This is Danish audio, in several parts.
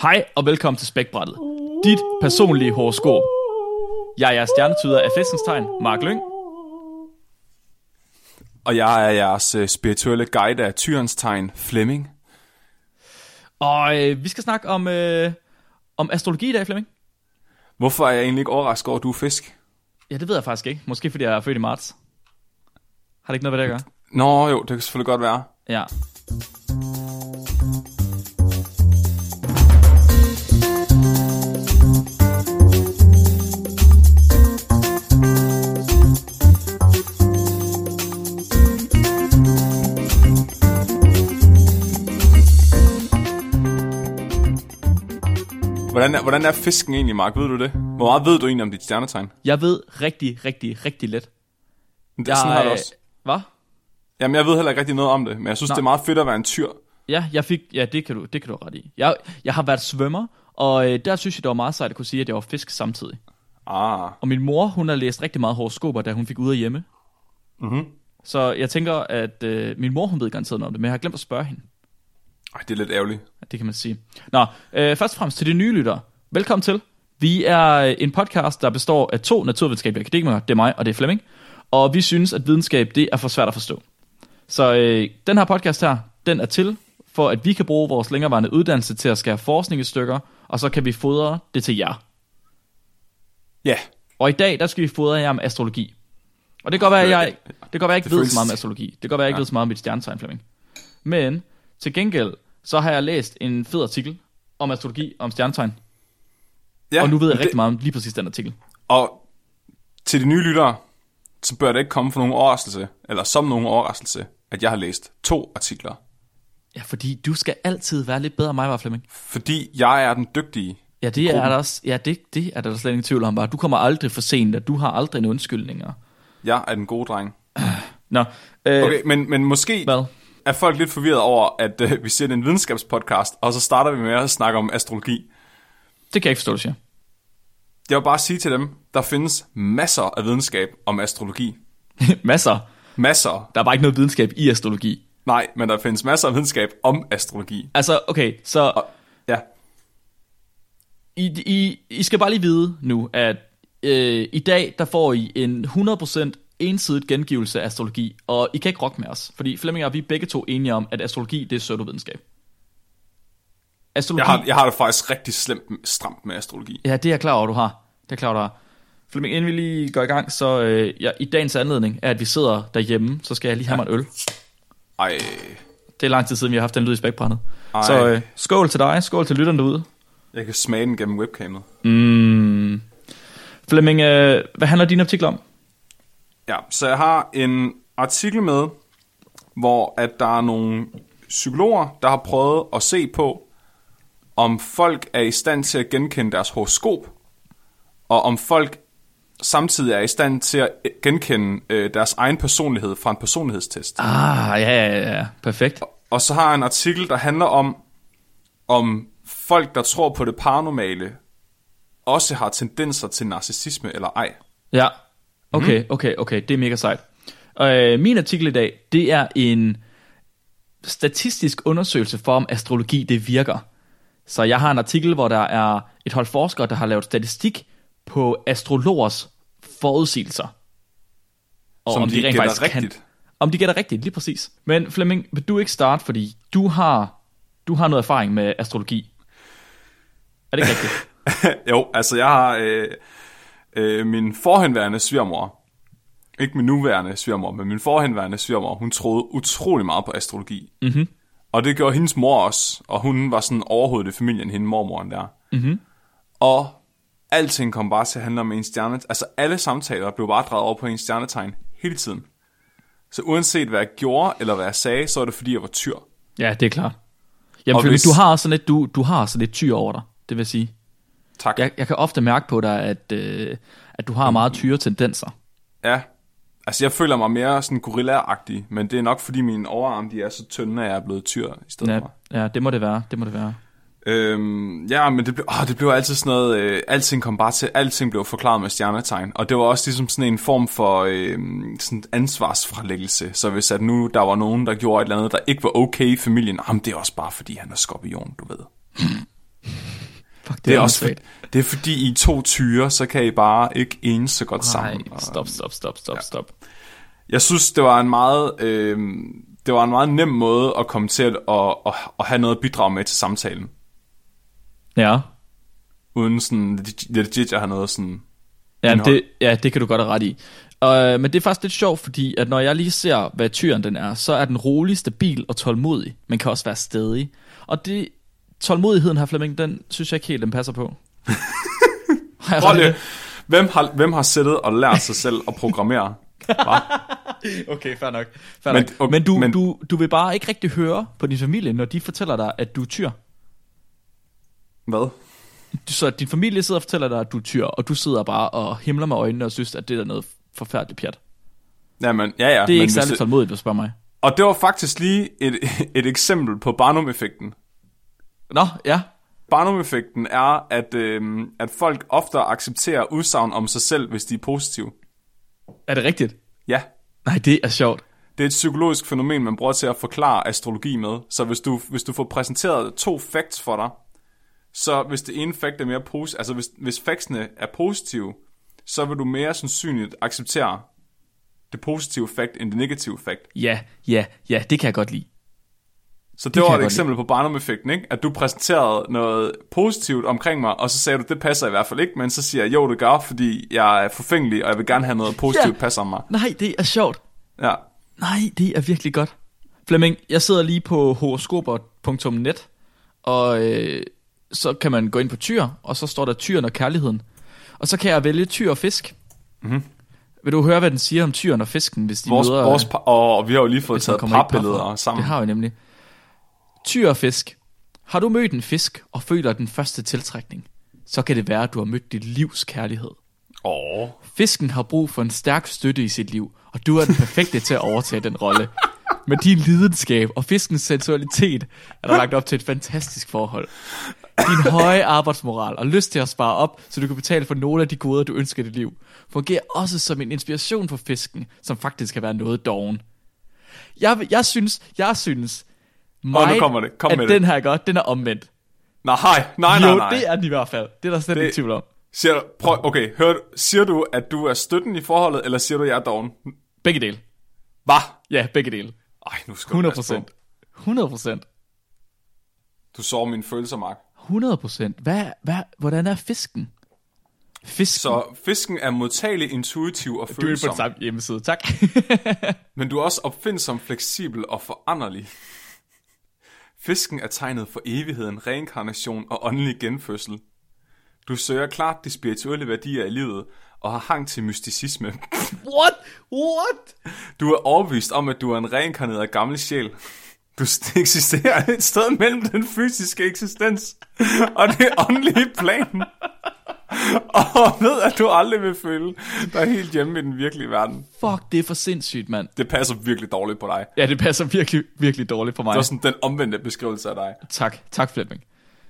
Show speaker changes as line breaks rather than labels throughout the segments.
Hej og velkommen til Spækbrættet. Dit personlige horoskop. Jeg er stjernetyder af festens tegn, Mark Lyng.
Og jeg er jeres øh, spirituelle guide af tyrens tegn, Flemming.
Og øh, vi skal snakke om, øh, om astrologi i dag, Flemming.
Hvorfor er jeg egentlig ikke overrasket over, at du er fisk?
Ja, det ved jeg faktisk ikke. Måske fordi jeg er født i marts. Har det ikke noget, hvad det gør?
Nå jo, det kan selvfølgelig godt være.
Ja.
Hvordan er, hvordan er fisken egentlig, Mark? Ved du det? Hvor meget ved du egentlig om dit stjernetegn?
Jeg ved rigtig, rigtig, rigtig let.
Det,
Jeg, øh,
jeg, sådan har jeg det også.
Hvad?
Jamen, jeg ved heller ikke rigtig noget om det, men jeg synes,
Nej.
det er meget fedt at være en tyr.
Ja, jeg fik, ja det, kan du, det kan du have ret i. Jeg, jeg har været svømmer, og øh, der synes jeg, det var meget sejt at kunne sige, at jeg var fisk samtidig.
Ah,
Og min mor, hun har læst rigtig meget horoskoper, da hun fik ud af hjemme. Mm-hmm. Så jeg tænker, at øh, min mor, hun ved garanteret noget om det, men jeg har glemt at spørge hende.
Ej, det er lidt ærgerligt.
Det kan man sige. Nå, øh, først og fremmest til de nye lyttere. Velkommen til. Vi er øh, en podcast, der består af to naturvidenskabelige akademikere. Det er mig, og det er Flemming. Og vi synes, at videnskab, det er for svært at forstå. Så øh, den her podcast her, den er til, for at vi kan bruge vores længerevarende uddannelse til at skære forskning i stykker, og så kan vi fodre det til jer.
Ja,
Og i dag, der skal vi fodre jer med astrologi. Og det kan godt være, at jeg, det kan godt være, jeg ikke
Det
ved
føles-
så meget om astrologi. Det kan godt være, jeg ikke ved så meget om mit stjernetegn, Flemming. Men til gengæld, så har jeg læst en fed artikel om astrologi, om stjernetegn.
ja.
og nu ved jeg
men
rigtig meget om lige præcis den artikel.
Og til de nye lyttere, så bør det ikke komme for nogen overraskelse, eller som nogen overraskelse, at jeg har læst to artikler.
Ja, fordi du skal altid være lidt bedre end mig, var Flemming.
Fordi jeg er den dygtige.
Ja, det er der også, ja, det, det er der slet ingen tvivl om. Bare. Du kommer aldrig for sent, og du har aldrig en undskyldning. og-
Jeg er den gode dreng.
Nå, øh, okay.
Okay, men, men måske
hvad?
er folk lidt forvirret over, at øh, vi ser en videnskabspodcast, og så starter vi med at snakke om astrologi.
Det kan jeg ikke forstå, du siger.
Jeg vil bare sige til dem, der findes masser af videnskab om astrologi.
Masser.
Masser.
Der er bare ikke noget videnskab i astrologi.
Nej, men der findes masser af videnskab om astrologi.
Altså, okay, så...
Og, ja,
I, I, I skal bare lige vide nu, at øh, i dag der får I en 100% ensidigt gengivelse af astrologi, og I kan ikke rokke med os, fordi Flemming og vi er begge to enige om, at astrologi det er pseudovidenskab. Astrologi,
jeg har, jeg har det faktisk rigtig slemt, stramt med astrologi.
ja, det er jeg klar over, du har. Det er klar over, du har. Flemming, inden vi lige går i gang, så øh, ja, i dagens anledning er, at vi sidder derhjemme, så skal jeg lige have mig en øl.
Ej,
Det er lang tid siden, vi har haft den lyd i spækbrættet.
Ej.
Så øh, skål til dig, skål til lytterne derude.
jeg kan smage den gennem webcamet.
Mm. Flemming, øh, hvad handler din artikel om?
Ja, så jeg har en artikel med, hvor at der er nogle psykologer, der har prøvet at se på, om folk er i stand til at genkende deres horoskop, og om folk samtidig er i stand til at genkende øh, deres egen personlighed fra en personlighedstest.
Ah, ja, ja, ja, ja. Perfekt.
Og så har jeg en artikel, der handler om, om folk, der tror på det paranormale, også har tendenser til narcissisme eller ej.
Ja.
Mhm.
Okay, okay, okay. Det er mega sejt. Og, øh, min artikel i dag, det er en statistisk undersøgelse for, om astrologi det virker. Så jeg har en artikel, hvor der er et hold forskere, der har lavet statistik på astrologers forudsigelser. Og
Som de gætter rigtigt.
Om de gætter rigtigt, lige præcis. Men Flemming, vil du ikke starte, fordi du har, du har noget erfaring med astrologi. Er det ikke rigtigt?
jo, altså jeg har øh, øh, min forhenværende svigermor, ikke min nuværende svigermor, men min forhenværende svigermor, hun troede utrolig meget på astrologi. Mm-hmm. Og det gjorde hendes mor også, og hun var sådan overhovedet i familien, hende mormoren der. Mm-hmm. Og alting kom bare til at handle om en stjerne, altså alle samtaler blev bare drejet over på en stjernetegn hele tiden. Så uanset hvad jeg gjorde, eller hvad jeg sagde, så var det fordi, jeg var tyr.
Ja, det er klart. Jamen,
Og
Flemming,
hvis-
du har sådan lidt, du, du har sådan lidt tyr over dig, det vil sige.
Tak.
Jeg, jeg kan ofte mærke på dig, at, øh, at du har meget tyre tendenser.
Ja. Altså, jeg føler mig mere sådan gorilla-agtig, men det er nok, fordi mine overarm, de er så tynde, at jeg er blevet tyr i stedet
Ja,
for.
ja, det må det være, det må det være.
Øhm, ja, men det blev, åh, det blev altid sådan noget, øh, alting kom bare til, alting blev forklaret med stjernetegn, og det var også ligesom sådan en form for øh, sådan ansvarsfralæggelse, så hvis at nu der var nogen, der gjorde et eller andet, der ikke var okay i familien, jamen det er også bare, fordi han er skorpion, du ved. Det er,
jo
også
svært.
for, det er fordi, I er to tyre, så kan I bare ikke enes så godt sammen.
Nej,
Og-
stop, stop, stop, stop, stop.
Jeg synes, det var en meget, øh, det var en meget nem måde at komme til at, at, at, at have noget at bidrage med til samtalen.
Ja,
Uden sådan legit- legit at have noget sådan...
ja,
indhold.
det, ja det kan du godt have ret i. Uh, men det er faktisk lidt sjovt, fordi at når jeg lige ser, hvad tyren den er, så er den rolig, stabil og tålmodig, men kan også være stedig. Og det, tålmodigheden her, Flemming, den synes jeg ikke helt, den passer på. Har jeg
Prøv
ret i
lige, hvem har, hvem har siddet og lært sig selv at programmere? Hva?
det? Okay, fair nok. Fair men,
Men-
nok.
okay,
men, du,
men-
Du, du vil bare ikke rigtig høre på din familie, når de fortæller dig, at du er tyr.
Hvad?
Så din familie sidder og fortæller dig, at du er tyr, og du sidder bare og himler med øjnene og synes, at det er noget forfærdeligt pjat.
Jamen, ja, ja.
Det er
men
ikke
hvis
særlig
det-
tålmodigt, hvis du spørger mig.
Og det var faktisk lige et, et eksempel på Barnum-effekten.
Nå, ja.
Barnum-effekten er, at, øh, at folk oftere accepterer udsagn om sig selv, hvis de er positive.
Er det rigtigt?
Ja,
Nej, det er sjovt.
det er et psykologisk fænomen, man bruger til at forklare astrologi med. Så hvis du, hvis du får præsenteret to facts for dig, så hvis det ene fact er mere positivt, altså hvis, hvis factsene er positive, så vil du mere sandsynligt acceptere det positive fact end det negative fact.
Ja, ja, ja, det kan jeg godt lide.
Så det,
kan
var
jeg
et
godt
eksempel på Barnum-effekten, ikke? At du præsenterede noget positivt omkring mig, og så sagde du, det passer i hvert fald ikke, men så siger jeg, jo, det gør, fordi jeg er forfængelig, og jeg vil gerne have noget positivt
Ja.
yeah. passer om mig.
Nej, det er sjovt.
Ja.
Nej, det er virkelig godt. Flemming, jeg sidder lige på horoskoper.net, og øh, så kan man gå ind på tyr, og så står der tyren og kærligheden. Og så kan jeg vælge tyr og fisk. Mm-hmm. Vil du høre, hvad den siger om tyren og fisken, hvis de
Mhm. Vores,
møder...
vores par, og vi har jo lige fået
hvis man
taget
Altså, kommer i et
parbilleder
parforhold?
sammen.
Det har vi nemlig. Tyr og fisk. Har du mødt en fisk og føler den første tiltrækning, så kan det være, at du har mødt dit livs kærlighed.
Åh.
Fisken har brug for en stærk støtte i sit liv, og du er den perfekte til at overtage den rolle. Med din lidenskab og fiskens sensualitet er der lagt op til et fantastisk forhold. Din høje arbejdsmoral og lyst til at spare op, så du kan betale for nogle af de goder, du ønsker i dit liv, fungerer også som en inspiration for fisken, som faktisk kan være noget doven. Jeg, vil- jeg synes, jeg synes,
nu
mig,
kommer det. Kom
at
med det.
den her godt, den er omvendt.
Nej, nej, nej,
jo,
nej.
det er den i hvert fald. Det er der slet det...
Det-
ikke tvivl om.
Siger du, prøv, okay, hør, siger du, at du er støtten i forholdet, eller siger du, at jeg er doven?
Begge dele.
Hvad?
Ja, begge dele.
Ej, nu skal
100
du passe på.
procent. 100 procent.
Du sår mine følelser, Mark.
100 procent. Hvad, hvad, hvordan er fisken? Fisken.
Så fisken er modtagelig, intuitiv og
du er på
følsom.
den samme hjemmeside, tak.
Men du er også opfindsom, fleksibel og foranderlig. Fisken er tegnet for evigheden, reinkarnation og åndelig genfødsel. Du søger klart de spirituelle værdier i livet og har hang til mysticisme.
What? What?
Du er overbevist om, at du er en reinkarneret gammel sjæl. Du s- eksisterer et sted mellem den fysiske eksistens og det åndelige plan. Og ved, at du aldrig vil føle dig helt hjemme i den virkelige verden.
Fuck, det er for sindssygt, mand.
Det passer virkelig dårligt på dig.
Ja, det passer virkelig, virkelig dårligt for mig.
Det var sådan den omvendte beskrivelse af dig.
Tak, tak Flemming.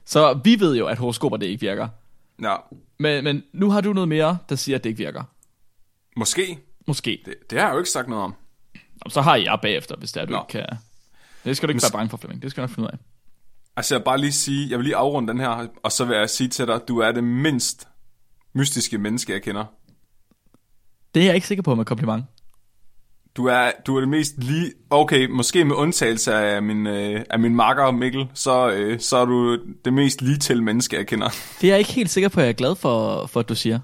Så vi ved jo, at horoskoper det ikke virker.
Ja,
Men, men nu har du noget mere, der siger, at det ikke virker.
måske.
Måske. Det.
Det har jeg jo ikke sagt noget om.
Så har jeg bagefter, hvis det er, du
Nå.
ikke kan... Det skal du ikke være bange for, Flemming. Det skal jeg nok finde ud af.
Altså jeg vil bare lige sige, jeg vil lige afrunde den her, og så vil jeg sige til dig, du er det mindst mystiske menneske, jeg kender.
Det er jeg ikke sikker på med kompliment.
Du er, du er det mest lige... Okay, måske med undtagelse af min, øh, af min makker Mikkel, så, øh, så er du det mest lige til menneske, jeg kender.
Det er jeg ikke helt sikker på, at jeg er glad for, for at du siger.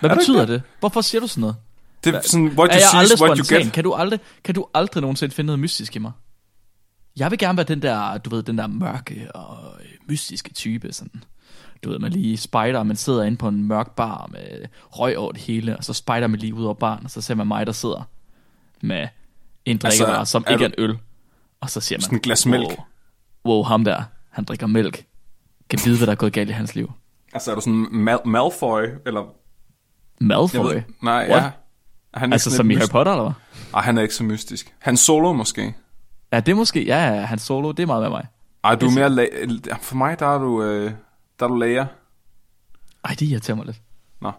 Hvad
Er du ikke
betyder det? Hvorfor siger du sådan noget?
Det er sådan, what
er
you
jeg
see
aldrig
is what you
spontan?
get.
Kan du aldrig, kan du aldrig nogensinde finde noget mystisk i mig? Jeg vil gerne være den der, du ved, den der mørke og øh, mystiske type, sådan. Du ved, man lige spejder, man sidder inde på en mørk bar med røg over det hele, og så spejder man lige ud over baren, og så ser man mig, der sidder med en drikkevare, altså, som
er
ikke er en
du-
øl. Og så siger man,
Sådan et glas mælk.
Wow, wow, ham der, han drikker mælk. Kan vide, hvad der er gået galt i hans liv.
Altså er du sådan Mal- Malfoy, eller... Jeg
Malfoy?
ved, nej,
What?
ja. Han er
Altså
sådan
som i
lidt
Harry
myst-
Potter, eller hvad?
Ej, han er ikke så mystisk. Han solo måske.
Ja, det er måske, ja, ja, han solo, det er meget med mig.
Ej, du er mere... La- for mig, der er du, øh, der er du læger.
Ej, det irriterer mig lidt.
Nå.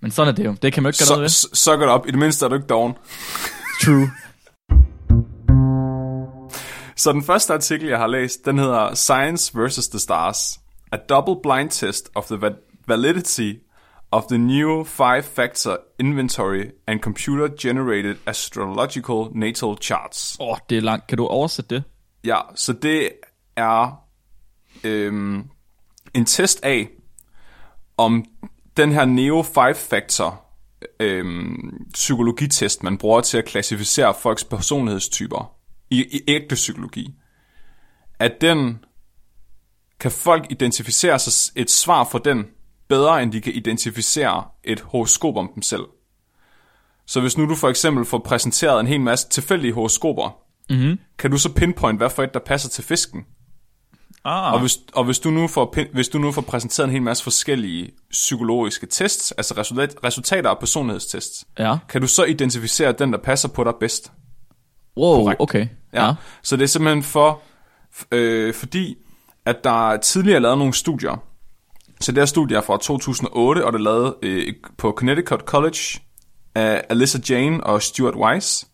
Men sådan er det jo. Det kan man jo ikke gøre noget
Så,
ved.
så, så gør det op. I det mindste er du ikke doven.
True.
Så den første artikel, jeg har læst, den hedder Science vs. The Stars. A double blind test of the va- validity of the new five factor inventory and computer generated astrological natal charts.
Åh, oh, det er langt. Kan du oversætte det?
Ja, så det er øhm, en test af, om den her Neo 5-factor øhm, psykologitest, man bruger til at klassificere folks personlighedstyper i, i ægte psykologi, at den kan folk identificere sig et svar for den bedre, end de kan identificere et horoskop om dem selv. Så hvis nu du for eksempel får præsenteret en hel masse tilfældige horoskoper, mm-hmm. kan du så pinpoint, hvad for et, der passer til fisken?
Ah,
Og, hvis, og hvis, du nu får, pin- hvis du nu får præsenteret en hel masse forskellige psykologiske tests, altså resultat, resultater af personlighedstests,
Ja.
kan du så identificere den, der passer på dig bedst.
wow, okay. Ja. ja.
Så det er simpelthen for, f- øh, fordi, at der er tidligere er lavet nogle studier. Så det her studie er fra 2008, og det er lavet øh, på Connecticut College af Alyssa Jane og Stuart Weiss.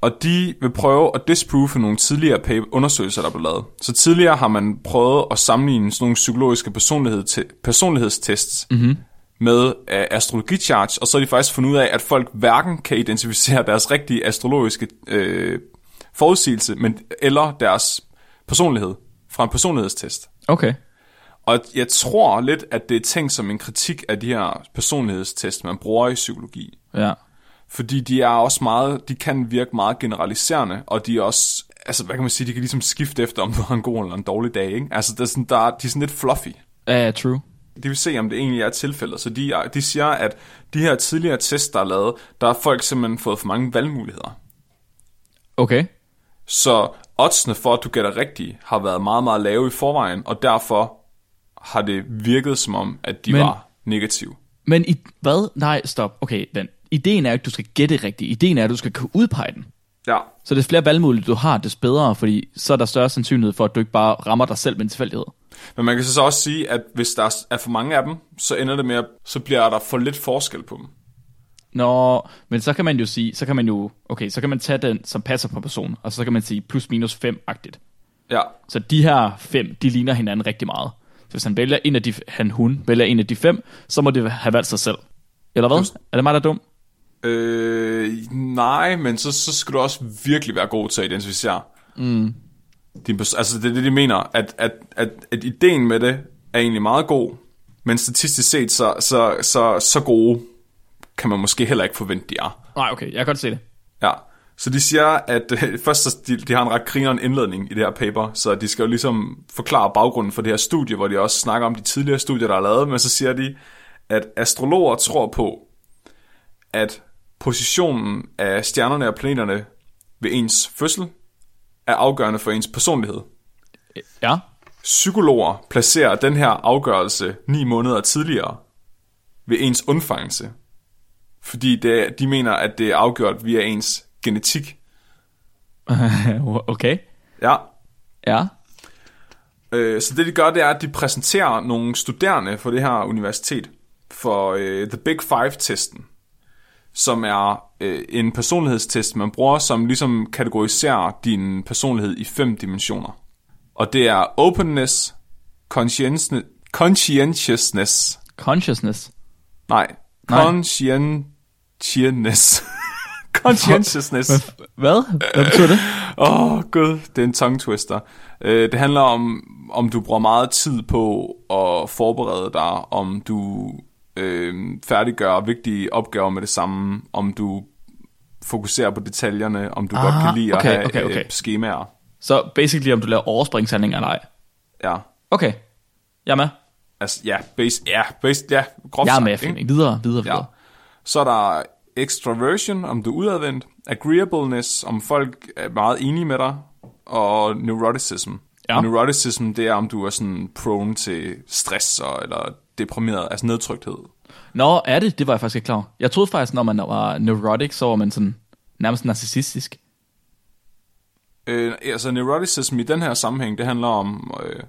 Og de vil prøve at disprove nogle tidligere pa- undersøgelser, der blev lavet. Så tidligere har man prøvet at sammenligne sådan nogle psykologiske personlighed til, personlighedstests mm-hmm. med uh, astrologicharts, og så har de faktisk fundet ud af, at folk hverken kan identificere deres rigtige astrologiske øh, forudsigelse, men, eller deres personlighed fra en personlighedstest.
Okay.
Og jeg tror lidt, at det er tænkt som en kritik af de her personlighedstest, man bruger i psykologi.
Ja.
Fordi de er også meget, de kan virke meget generaliserende, og de er også, altså hvad kan man sige, de kan ligesom skifte efter, om du har en god eller en dårlig dag, ikke? Altså det er sådan, der, er- de er sådan lidt fluffy.
Ja, uh, true.
De vil se, om det egentlig er tilfældet. Så de, er- de siger, at de her tidligere tests, der er lavet, der har folk simpelthen fået for mange valgmuligheder.
Okay.
Så oddsene for, at du gætter rigtigt, har været meget, meget lave i forvejen, og derfor har det virket som om, at de Men...
Men-
var negative.
Men i... Hvad? Nej, stop. Okay, den. Ideen er ikke, at du skal gætte rigtigt. Ideen er, at du skal kunne udpege den.
Ja,
Så des flere valgmuligheder du har, des bedre, fordi så er der større sandsynlighed for, at du ikke bare rammer dig selv med en tilfældighed.
Men man kan så også sige, at hvis der er for mange af dem, så ender det med, at så bliver der for lidt forskel på dem.
Nå, men så kan man jo sige, så kan man jo, okay, så kan man tage den, som passer på personen, og så kan man sige plus minus 5-agtigt.
Ja,
Så de her fem, de ligner hinanden rigtig meget. Så hvis han vælger en af de, han hun vælger en af de fem, så må det have valgt sig selv. Eller hvad? Er det mig, der er dum?
øh, nej, men så, så skal du også virkelig være god til at identificere. Mm. Din pers- altså det er det, de mener, at, at, at, at ideen med det er egentlig meget god, men statistisk set, så, så, så, så gode kan man måske heller ikke forvente, de er.
Nej, okay, jeg kan godt se det.
Ja, så de siger, at øh, først så de, de har en ret grineren indledning i det her paper, så de skal jo ligesom forklare baggrunden for det her studie, hvor de også snakker om de tidligere studier, der er lavet, men så siger de, at astrologer tror på, at positionen af stjernerne og planeterne ved ens fødsel er afgørende for ens personlighed.
Ja,
Psykologer placerer den her afgørelse ni måneder tidligere ved ens undfangelse, fordi det, de mener, at det er afgjort via ens genetik.
okay.
Ja,
Ja,
øh, så det de gør, det er, at de præsenterer nogle studerende for det her universitet for øh, The Big Five-testen, som er øh, en personlighedstest, man bruger, som ligesom kategoriserer din personlighed i fem dimensioner. Og det er openness, conscientiousness, conscientiousness
consciousness.
nej, conscientiousness, conscientiousness.
Hvad? Hvad betyder det?
Åh, oh, gud, det er en tongue twister. Øh, det handler om, om du bruger meget tid på at forberede dig, om du øh, færdiggør vigtige opgaver med det samme, om du fokuserer på detaljerne, om du ah, godt kan lide at
okay,
have
okay, okay.
Øh, skemaer.
Så basically, om du laver overspringshandlinger eller ej.
Ja,
Okay, jeg er med.
altså, ja, base, ja, base, ja, groft
Jeg er
sagt,
med,
ikke?
Flemming. Videre, videre,
Ja.
videre.
Så er der extraversion, om du er udadvendt, agreeableness, om folk er meget enige med dig, og neuroticism.
Ja.
Og Neuroticism, det er, om du er sådan prone til stress og, eller deprimeret, altså nedtrykthed.
Nå, er det? Det var jeg faktisk ikke klar over. Jeg troede faktisk, når man var neurotic, så var man sådan nærmest narcissistisk.
Øh, altså neuroticism i den her sammenhæng, det handler om, øh,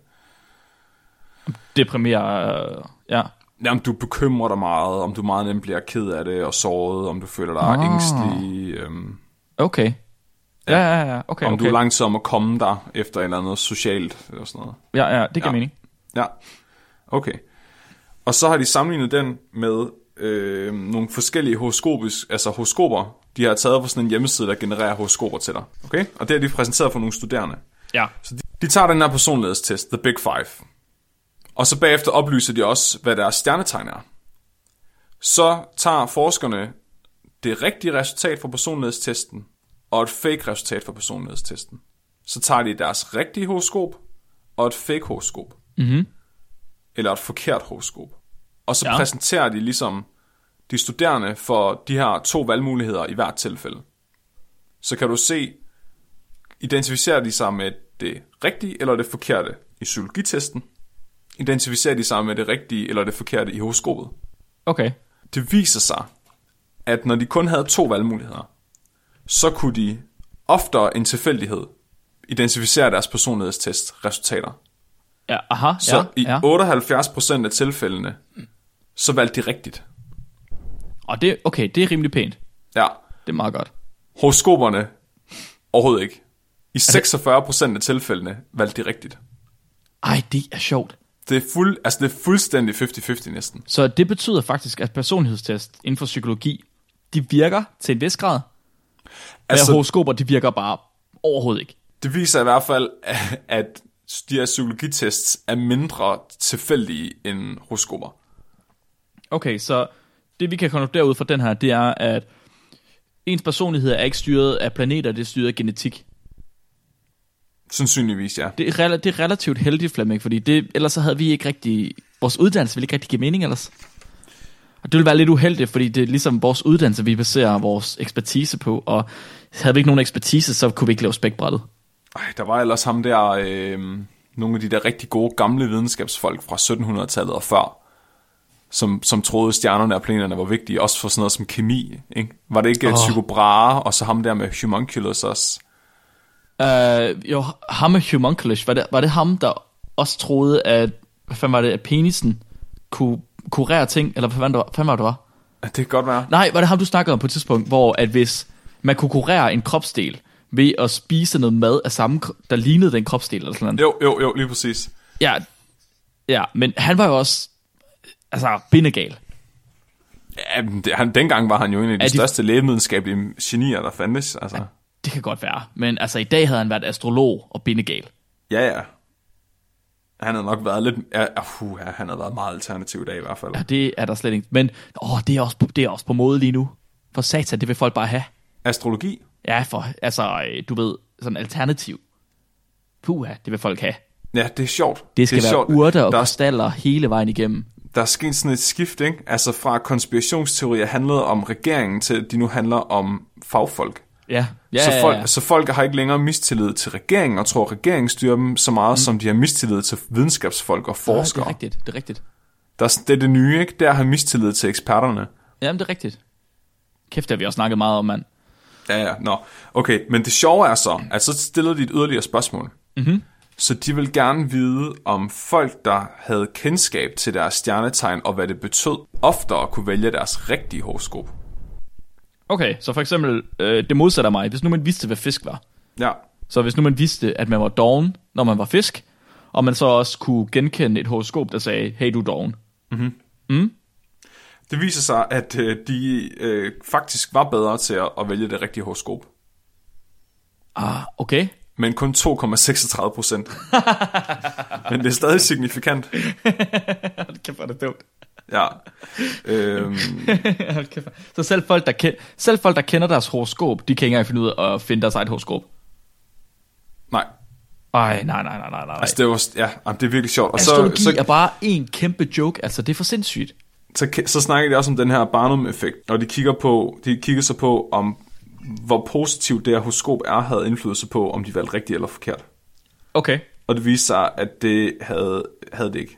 Deprimerer, øh, ja.
ja, om du bekymrer dig meget, om du meget nemt bliver ked af det og såret, om du føler dig
Ah.
ah. ængstelig, øh, om
Okay. Ja, ja, ja, okay,
okay. du
okay.
er langsom at komme dig efter et eller andet socialt og sådan noget.
Ja, ja, det giver
Ja.
mening.
Ja, okay. Og så har de sammenlignet den med øh, nogle forskellige horoskopis, altså horoskoper, de har taget fra sådan en hjemmeside, der genererer horoskoper til dig. Okay? Og det har de præsenteret for nogle studerende.
Ja.
Så de, de tager den her personlighedstest, The Big Five. Og så bagefter oplyser de også, hvad deres stjernetegn er. Så tager forskerne det rigtige resultat fra personlighedstesten og et fake resultat fra personlighedstesten. Så tager de deres rigtige horoskop og et fake horoskop. Mm-hmm. Eller et forkert horoskop. Og så
Ja.
ja. præsenterer de ligesom de studerende for de her to valgmuligheder i hvert tilfælde. Så kan du se, identificerer de sig med det rigtige eller det forkerte i psykologitesten. Identificerer de sig med det rigtige eller det forkerte i horoskopet.
Okay.
Det viser sig, at når de kun havde to valgmuligheder, så kunne de oftere end tilfældighed identificere deres personlighedstest resultater.
Ja, aha.
Så
ja,
i
ja.
78% af tilfældene, så valgte de rigtigt.
Og det, okay, det er rimelig pænt.
Ja,
Det er meget godt.
horoskoperne overhovedet ikke. I 46% af tilfældene valgte de rigtigt.
Ej, det er sjovt.
Det er, fuld, altså det er fuldstændig 50-50 næsten.
Så det betyder faktisk, at personlighedstest inden for psykologi, de virker til en vis grad, altså,
Altså-
men horoskoper, de virker bare overhovedet ikke.
Det viser i hvert fald, at de her psykologitests er mindre tilfældige end horoskoper.
Okay, så det vi kan konkludere ud fra den her, det er, at ens personlighed er ikke styret af planeter, det er styret af genetik.
Sandsynligvis, ja.
Det er, rela- det er relativt heldigt, Flemming, fordi det, ellers så havde vi ikke rigtig... Vores uddannelse ville ikke rigtig give mening ellers. Og det ville være lidt uheldigt, fordi det er ligesom vores uddannelse, vi baserer vores ekspertise på, og havde vi ikke nogen ekspertise, så kunne vi ikke lave spækbrættet.
Ej, der var ellers ham der, øh, nogle af de der rigtig gode gamle videnskabsfolk fra 1700-tallet og før, som, som troede, stjernerne og planeterne var vigtige, også for sådan noget som kemi. Ikke? Var det ikke oh. Tycho Brahe, og så ham der med homunculus også?
Uh, jo, ham med homunculus, var det, var det ham, der også troede, at, hvad fanden var det, at penisen kunne kurere ting, eller hvad fanden, det var, fanden var det, det var?
Det kan godt være.
Nej, var det ham, du snakkede om på et tidspunkt, hvor at hvis man kunne kurere en kropsdel ved at spise noget mad af samme, kro- der lignede den kropsdel eller sådan noget.
Jo, jo, jo, lige præcis.
Ja, ja, men han var jo også altså, bindegal.
Ja, men det, han, dengang var han jo en af de,
Er
de
de-
største lægevidenskabelige genier, der fandtes. Altså.
Det kan godt være, men altså i dag havde han været astrolog og bindegal.
Ja, ja. Han havde nok været lidt... Ja, uh, ja, han havde været meget alternativ i dag i hvert fald.
Ja, det er der slet ikke. Men åh, det, er også på, det er også på mode lige nu. For satan, det vil folk bare have.
Astrologi?
Ja, for altså, øh, du ved, sådan alternativ. Puha, det vil folk have.
Ja, det er sjovt.
Det skal
er
det være
sjovt.
urter og
der, er,
krystaller hele vejen igennem.
der er sket sådan et skift, ikke? Altså fra konspirationsteorier handlede om regeringen, til at de nu handler om fagfolk.
Ja, ja,
så,
ja,
folk,
ja.
så folk har ikke længere mistillid til regeringen, og tror, at regeringen styrer dem så meget, mm. som de har mistillid til videnskabsfolk og
Ja, Ah, det
forskere.
er rigtigt, det er rigtigt.
der, er sådan- det er det nye, ikke? Der har mistillid til eksperterne.
Jamen, det er rigtigt. Kæft, det har vi også snakket meget om, mand.
Ja, ja, nå. Okay, men det sjove er så, at så stillede de et yderligere spørgsmål. Mm-hmm. Så de vil gerne vide, om folk, der havde kendskab til deres stjernetegn og hvad det betød, oftere kunne vælge deres rigtige horoskop.
Okay, så for eksempel, øh, det modsatte af mig. Hvis nu man vidste, hvad fisk var.
Ja,
Så hvis nu man vidste, at man var doven, når man var fisk, og man så også kunne genkende et horoskop, der sagde, hey, du er doven.
det viser sig, at øh, de øh, faktisk var bedre til at, at vælge det rigtige horoskop.
Ah, okay.
Men kun 2,36 procent. men det er stadig signifikant.
Hold kæft, hvor er det dumt.
Ja. Øhm,
Hold kæft. hvor- Så selv folk, der kend, selv folk, der kender deres horoskop, de kan ikke engang finde ud af at finde deres eget horoskop.
nej,
Ej, nej, nej, nej, nej, nej.
altså det, var, ja, jamen, det er virkelig sjovt. Og
Astrologi så, så... er bare en kæmpe joke, altså det er for sindssygt.
så, så snakker de også om den her Barnum-effekt, og de kigger, på, de kigger så på, om hvor positivt det her horoskop er, havde indflydelse på, om de valgte rigtigt eller forkert.
Okay.
Og det viste sig, at det havde, havde det ikke.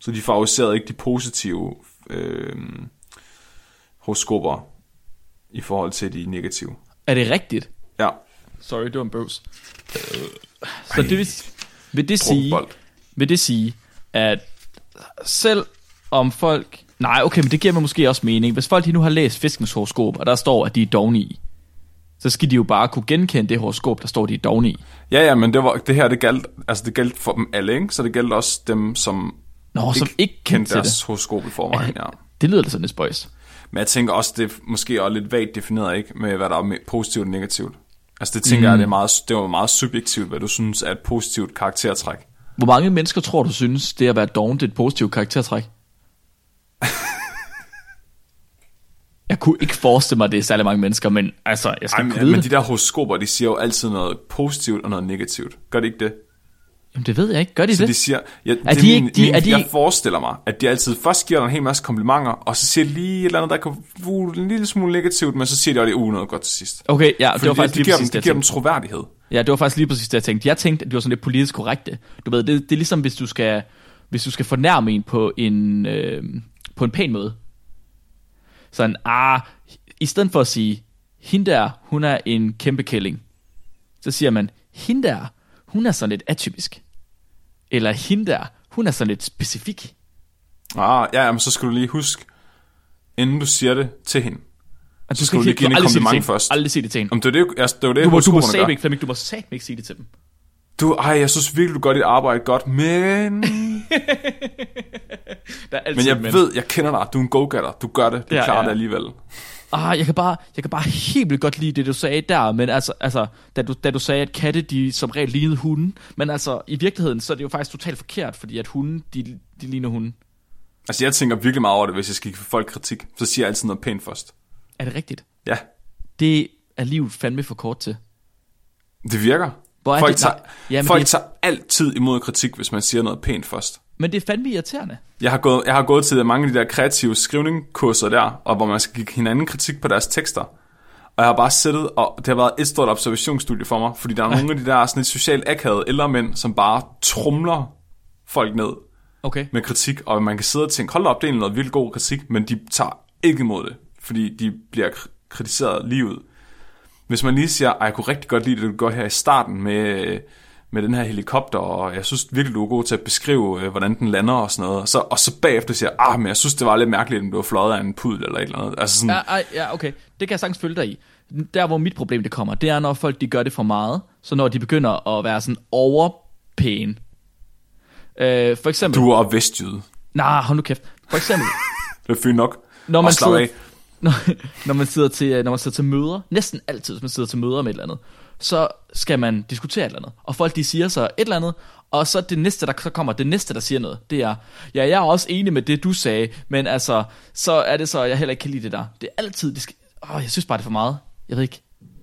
Så de favoriserede ikke de positive øh, horoskoper i forhold til de negative.
Er det rigtigt?
Ja,
Sorry, det var en bøvs. Øh, Så det vil, vil det sige,
drukbold.
vil det sige, at selv om folk... Nej, okay, men det giver mig måske også mening. Hvis folk de nu har læst fiskens horoskop, og der står, at de er dogne i, så skal de jo bare kunne genkende det horoskop, der står de dogne i.
Ja, ja, men det, var, det her, det galt, altså det galt for dem alle, ikke? Så det galt også dem, som
Nå, som ikke kendte
kendte
til
deres
det.
horoskop i forvejen, ja.
Det lyder da sådan lidt spøjst.
Men jeg tænker også, det er måske også lidt vagt defineret, ikke? Med hvad der er me- positivt og negativt. Altså det tænker mm. jeg, det, er meget, det var meget subjektivt, hvad du synes er et positivt karaktertræk.
Hvor mange mennesker tror du synes, det at være doven, det er et positivt karaktertræk? jeg kunne ikke forestille mig, at det er særlig mange mennesker, men altså, jeg skal
Ej,
Ej,
men,
vide
men
det.
de der horoskoper, de siger jo altid noget positivt og noget negativt. Gør de ikke det?
Jamen, det ved jeg ikke. Gør de
Så
det?
de siger, ja, det
Er
er
de
de min,
ikke- de-
min,
er de
jeg
ikke-
forestiller mig, at de altid først giver dig en hel masse komplimenter, og så siger de lige et eller andet, der kan vule en lille smule negativt, men så siger de også, det er noget godt til sidst.
Okay, ja, det
Fordi
var faktisk
de,
lige
giver,
præcis
dem,
det,
de
jeg
giver dem
tænkte.
troværdighed.
Ja, det var faktisk lige præcis det, jeg tænkte. Jeg tænkte, at det var sådan lidt politisk korrekte. Du ved, det, det er ligesom, hvis du skal, hvis du skal fornærme en på en, øh, på en pæn måde. Sådan, ah, i stedet for at sige, hende der, hun er en kæmpe kælling, så siger man, hende der, hun er sådan lidt atypisk. Eller hende der, hun er sådan lidt specifik.
Ah, ja, ja, men så skal du lige huske, inden du siger det til hende.
Altså,
skal du lige give
du
hende
aldrig sige det til
kompliment
hende.
først.
Aldrig sige det til hende.
Om det er det, altså, det, er jo det
Du må, du må
horoskoperne gør.
sæbe ikke, Flemming, du må sæbe ikke sige det til dem.
Du, ej, jeg synes virkelig, du gør dit arbejde godt, men...
Der er altid
Men jeg
et
ved, jeg kender dig, du er en go-getter, du gør det, du
Ja,
ja, klarer
ja.
ja. det alligevel.
Ah, jeg kan bare, jeg kan bare helt vildt godt lide det, du sagde der, men altså, altså da, du, da du sagde, at katte, de som regel lignede hunden, men altså, i virkeligheden, så er det jo faktisk totalt forkert, fordi at hunden, de, de ligner hunden.
Altså, jeg tænker virkelig meget over det, hvis jeg skal give folk kritik, så siger jeg altid noget pænt først.
Er det rigtigt?
Ja,
Det er livet fandme for kort til.
det virker.
Hvor er
folk
det-
tager,
nej,
ja,
jamen,
folk
det-
det... tager altid imod kritik, hvis man siger noget pænt først.
Men det er fandme irriterende.
Jeg har, gået, jeg har gået til mange af de der kreative skrivningkurser der, og hvor man skal give hinanden kritik på deres tekster. Og jeg har bare siddet, og det har været et stort observationsstudie for mig, fordi der er nogle af de der sådan lidt socialt akavede ældre mænd, som bare trumler folk ned
Okay.
med kritik, og man kan sidde og tænke, hold da op, det er egentlig noget vildt god kritik, men de tager ikke imod det, fordi de bliver kr- kritiseret lige ud. Hvis man lige siger, "Ej, jeg kunne rigtig godt lide det, du gør her i starten med, med den her helikopter, og jeg synes virkelig, du er god til at beskrive, øh, hvordan den lander og sådan noget, og så, og så bagefter siger, ah, men jeg synes, det var lidt mærkeligt, at den blev fløjet af en pudel eller et eller andet. Altså sådan,
Ja, ej, ja, okay. Det kan jeg sagtens følge dig i. Der, hvor mit problem det kommer, det er, når folk de gør det for meget, så når de begynder at være sådan overpæne. Øh, for eksempel...
du er vestjyde.
Nej, hold nu kæft. For eksempel...
Det er fint nok.
når
Og
man,
slap
sidder,
af.
når, når, man sidder til, øh, når man sidder til møder, næsten altid, hvis man sidder til møder med et eller andet, så skal man diskutere et eller andet. Og folk de siger så et eller andet, og så det næste, der så kommer, det næste, der siger noget, det er, ja, jeg er også enig med det, du sagde, men altså, så er det så, jeg heller ikke kan lide det der. Det er altid, det skal, åh, jeg synes bare, det er for meget. Jeg ved ikke.
Ja,
Jeg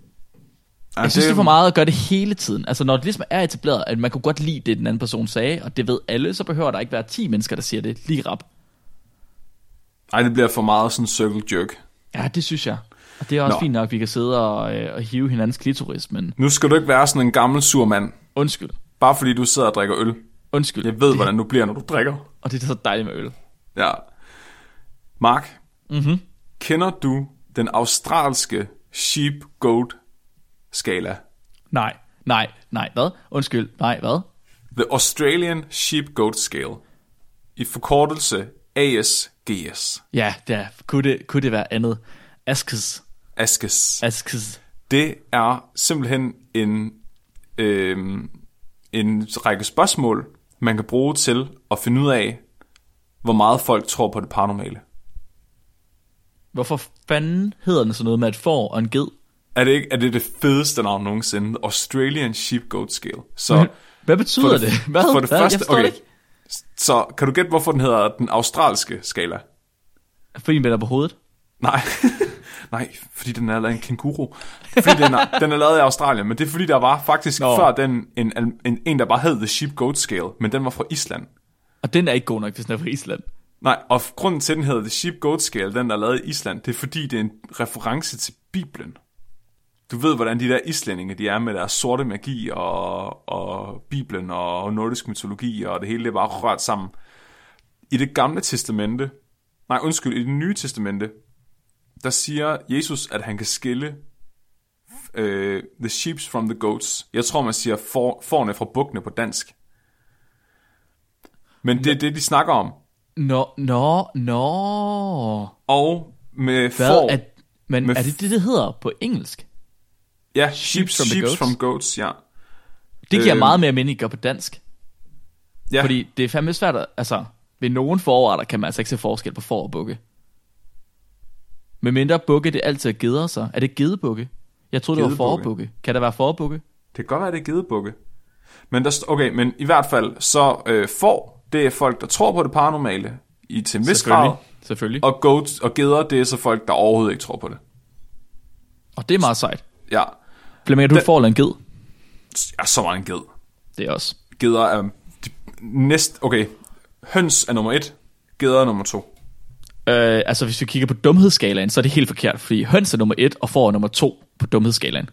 Altså,
synes, det er for meget at gøre det hele tiden. Altså, når det ligesom er etableret, at man kunne godt lide det, den anden person sagde, og det ved alle, så behøver der ikke være 10 mennesker, der siger det lige rap.
Ej, det bliver for meget sådan circle jerk.
Ja, det synes jeg. Og det er også Nå.
Nå.
fint nok, at vi kan sidde og, øh, og hive hinandens klitoris, men
Nu skal du ikke være sådan en gammel sur mand,
undskyld.
bare fordi du sidder og drikker øl.
Undskyld.
Jeg ved,
det,
hvordan du bliver, når du drikker.
Og det er så dejligt med øl.
Ja. Mark, mm-hmm. kender du den australske sheep-goat-skala?
Nej. Nej, nej, hvad? Undskyld, nej, hvad?
The Australian Sheep-Goat Scale. I forkortelse ASGS.
Ja, det er, kunne, det, kunne det være andet? Askes.
ASGS.
Askes.
Det er simpelthen en, øhm, en række spørgsmål, man kan bruge til at finde ud af, hvor meget folk tror på det paranormale.
Hvorfor fanden hedder den sådan noget med et får og en ged?
Er det ikke er det, det fedeste navn nogensinde? The Australian Sheep-Goat Scale. Så
Hvad betyder det? Hvad?
For det
hvad? jeg
første,
forstår
okay.
det ikke.
Så kan du gætte, hvorfor den hedder den australske skala?
Fordi den vender på hovedet.
Nej. Nej, fordi den er lavet af en kenguru. Fordi den er, den er lavet i Australien, men det er fordi, der var faktisk
Nå.
Nå. før den en, en, en, en, der bare hed The Sheep Goat Scale, men den var fra Island.
Og den er ikke god nok, hvis den er fra Island.
Nej, og f- grunden til, at den hedder The Sheep Goat Scale, den der er lavet i Island, det er fordi, det er en reference til Bibelen. Du ved, hvordan de der islændinge, de er med deres sorte magi og, og Bibelen og nordisk mytologi, og det hele det er bare rørt sammen. I det gamle testamente, nej undskyld, i det nye testamente, der siger Jesus, at han kan skille øh, the sheeps from the goats. Jeg tror, man siger for, forne fra bukkene på dansk. Men det er det, de snakker om.
Nå, nå, nå.
Og med
Hvad
får,
er, men
Med
er det det, det hedder på engelsk?
Ja, sheeps, from, sheeps from goats, ja.
Det giver
Øh.
øh, meget mere mening at gøre på dansk.
ja.
Fordi det er fandme svært at, altså, ved nogen forretter kan man altså ikke se forskel på får og bukke. Med mindre bukke, det altid er geder sig. Er det gedebukke? Jeg troede, det var
Gedebukke.
forbukke. Kan der være forbukke?
Det kan godt være, det er gedebukke. Men, der, st- okay, men i hvert fald, så øh, får det er folk, der tror på det paranormale i til en vis grad,
Selvfølgelig. Selvfølgelig. Og,
og, goats, og geder, det er så folk, der overhovedet ikke tror på det.
og det er meget sejt.
Ja,
Flemming, er du
Den-
den... får eller en ged?
jeg er så meget en ged.
Det er også.
Geder er de, næst, okay, høns er nummer et, geder er nummer to.
Øh, altså, hvis vi kigger på dumhedsskalaen, så er det helt forkert, fordi høns er nummer 1 og får er nummer 2 på dumhedsskalaen.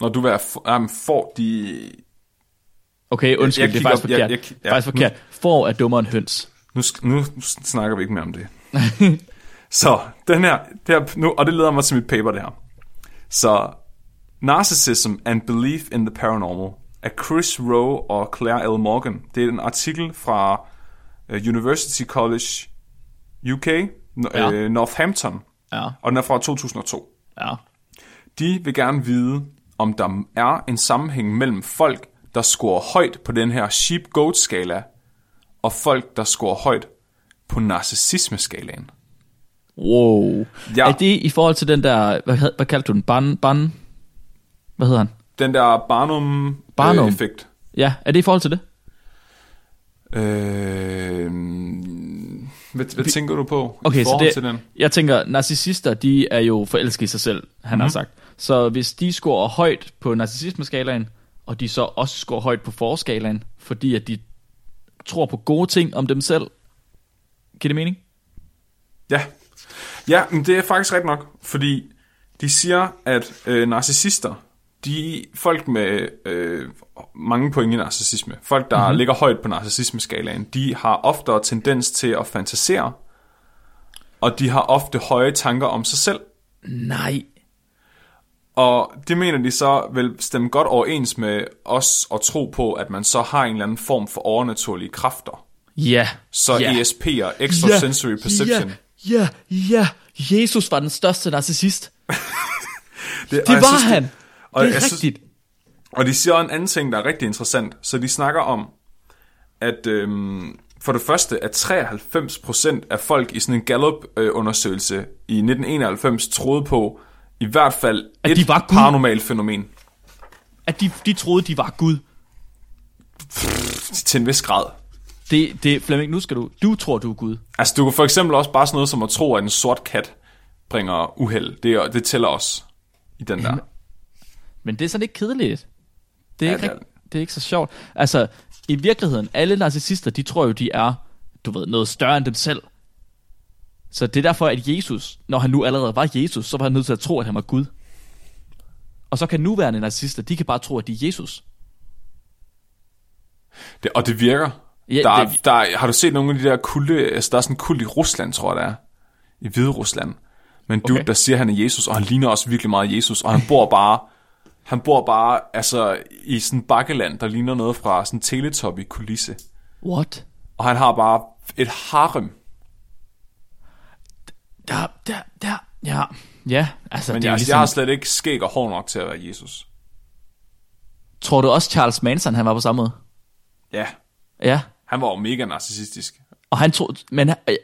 Når du vil jamen, får de...
Okay, undskyld,
jeg
det er
kigger-
faktisk
jeg-
forkert. Jeg, jeg,
jeg ki- ja, Mm.
ja, faktisk forkert. Får er dummere end høns.
Nu, sk- nu snakker vi ikke mere om det. så, den her, det her nu, og det leder mig til mit paper, det her. Så, Narcissism and Belief in the Paranormal af Chris Rowe og Claire L. Morgan. Det er en artikel fra øh, University College UK, n-
Ja.
øh, Northampton,
Ja,
og den er fra 2002.
ja.
De vil gerne vide, om der er en sammenhæng mellem folk, der scorer højt på den her sheep-goat-skala, og folk, der scorer højt på narcissisme-skalaen.
Wow.
Ja.
Ja. Er det i forhold til den der, hvad, hed, hvad kaldte du den? Ban, ban, hvad hedder han?
Den der Barnum-effekt.
Barnum.
Øh, effekt.
Ja, er det i forhold til det?
øh, hvad, hvad tænker du på i
Okay, så
forhold
det,
til den?
jeg tænker, narcissister, de er jo forelsket i sig selv, han mm-hmm. har sagt. Så hvis de scorer højt på narcissismeskalaen, og de så også scorer højt på forskalaen, fordi at de tror på gode ting om dem selv, giver det mening?
Ja. Ja, men det er faktisk rigtigt nok, fordi de siger, at øh, narcissister, de folk med øh, mange point i narcissisme, folk, der
Mhm.
mm-hmm. ligger højt på narcissismeskalaen, de har oftere tendens til at fantasere, og de har ofte høje tanker om sig selv.
Nej.
Og det mener de så vil stemme godt overens med os at tro på, at man så har en eller anden form for overnaturlige kræfter.
Ja.
Så E
ja.
yeah. ESP'er, extrasensory yeah. perception. Yeah.
Ja, ja, ja. Jesus var den største narcissist.
Det,
Det var han. Det,
og
det er
jeg synes-
rigtigt. Synes,
Og de siger en anden ting, der er rigtig interessant. Så de snakker om, at øhm, for det første, at 93% af folk i sådan en Gallup-undersøgelse øh, i 1991 troede på i hvert fald
At
et
de var Gud.
paranormalt fænomen
at de, de troede, de var Gud.
til en vis grad.
Det, det, Flemming, nu skal du. Du tror, du er Gud.
Altså, du kan for eksempel også bare sådan noget som at tro, at en sort kat bringer uheld. Det, er- det tæller også i den der.
Men det er sådan lidt kedeligt. Det er,
Ja,
ja, ikke,
det er
det, er... det er ikke så sjovt. Altså, i virkeligheden, alle narcissister, de tror jo, de er, du ved, noget større end dem selv. Så det er derfor, at Jesus, når han nu allerede var Jesus, så var han nødt til at tro, at han var Gud. Og så kan nuværende narcissister, de kan bare tro, at de er Jesus.
Det, og det virker.
Ja,
der, er-
det-
der, er- har du set nogle af de der kulde, altså der er sådan en kult i Rusland, tror jeg, der er. I Hvide Rusland. Men dude,
Okay.
der siger, han er Jesus, og han ligner også virkelig meget Jesus, og han bor bare, han bor bare, altså, i sådan en bakkeland, der ligner noget fra sådan en teletop i kulisse.
What?
Og han har bare et harem.
Der, der, der, ja. Ja, altså,
Men
det er
jeg,
jo
ligesom...
ligesom,
jeg har slet ikke skæg og hår nok til at være Jesus.
tror du også Charles Manson, han var på samme måde?
Ja,
Ja,
han var jo mega narcissistisk.
Og han tog, men han, øh,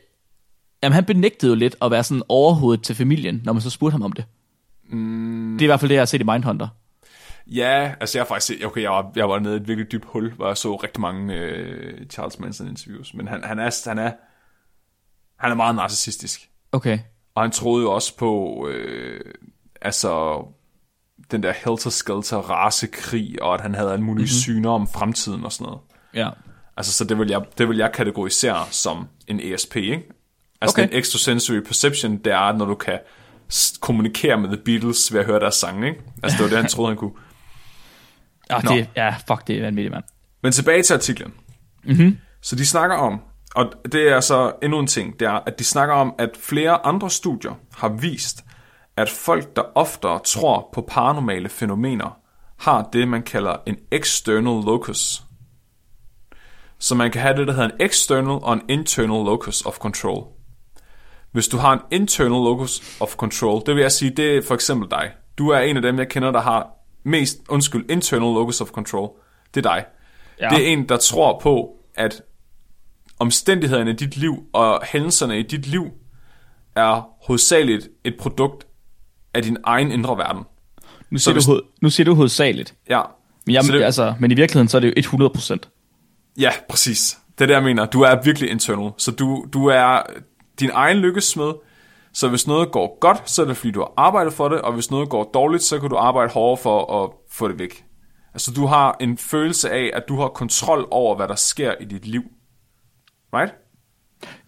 jamen han benægtede jo lidt at være sådan overhovedet til familien, når man så spurgte ham om det. Mm. Det er i hvert fald det, jeg har set i Mindhunter.
Ja, altså jeg har faktisk set, okay, jeg var, jeg var nede i et virkelig dybt hul, hvor jeg så rigtig mange øh, Charles Manson interviews, men han, han, er, han, er, han er meget narcissistisk,
Okay.
og han troede jo også på, øh, altså, den der helter-skelter rasekrig, og at han havde alle mulige mm-hmm. syner om fremtiden og sådan noget.
Ja.
Altså, så det vil jeg, det vil jeg kategorisere som en ESP, ikke? Altså
Okay.
en extrasensory perception, det er, når du kan s- kommunikere med The Beatles ved at høre deres sange, ikke? Altså, det var det, han troede, han kunne.
Ah,
Nå.
det, ja, fuck, det er vanvittigt, mand.
Men tilbage til artiklen. Mm-hmm. Så de snakker om, og det er så endnu en ting, det er, at de snakker om, at flere andre studier har vist, at folk, der oftere tror på paranormale fænomener, har det, man kalder en external locus. Så man kan have det, der hedder en external og en internal locus of control. Hvis du har en internal locus of control, det vil jeg sige, det er for eksempel dig. Du er en af dem, jeg kender, der har mest, undskyld, internal locus of control, det er dig.
Ja.
Ja. Det er en, der tror på, at omstændighederne i dit liv og hændelserne i dit liv er hovedsageligt et produkt af din egen indre verden.
Nu siger,
hvis-
du, hoved, nu siger du hovedsageligt.
Ja.
Men, jeg,
Så det,
altså, men i virkeligheden, så er det jo 100%.
Ja, præcis. Det er det, jeg mener. Du er virkelig internal. Så du, du er din egen lykkesmed. Så hvis noget går godt, så er det fordi, du har arbejdet for det, og hvis noget går dårligt, så kan du arbejde hårdere for at få det væk. Altså, du har en følelse af, at du har kontrol over, hvad der sker i dit liv. Right?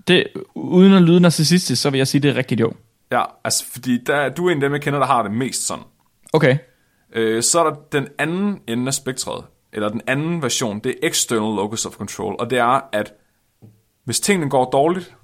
Det, uden at lyde narcissistisk, så vil jeg sige, det er rigtigt jo.
Ja, altså, fordi der, du er en af dem, jeg kender, der har det mest sådan.
Okay.
Øh, så er der den anden ende af spektret, eller den anden version, det er external locus of control, og det er, at hvis tingene går dårligt,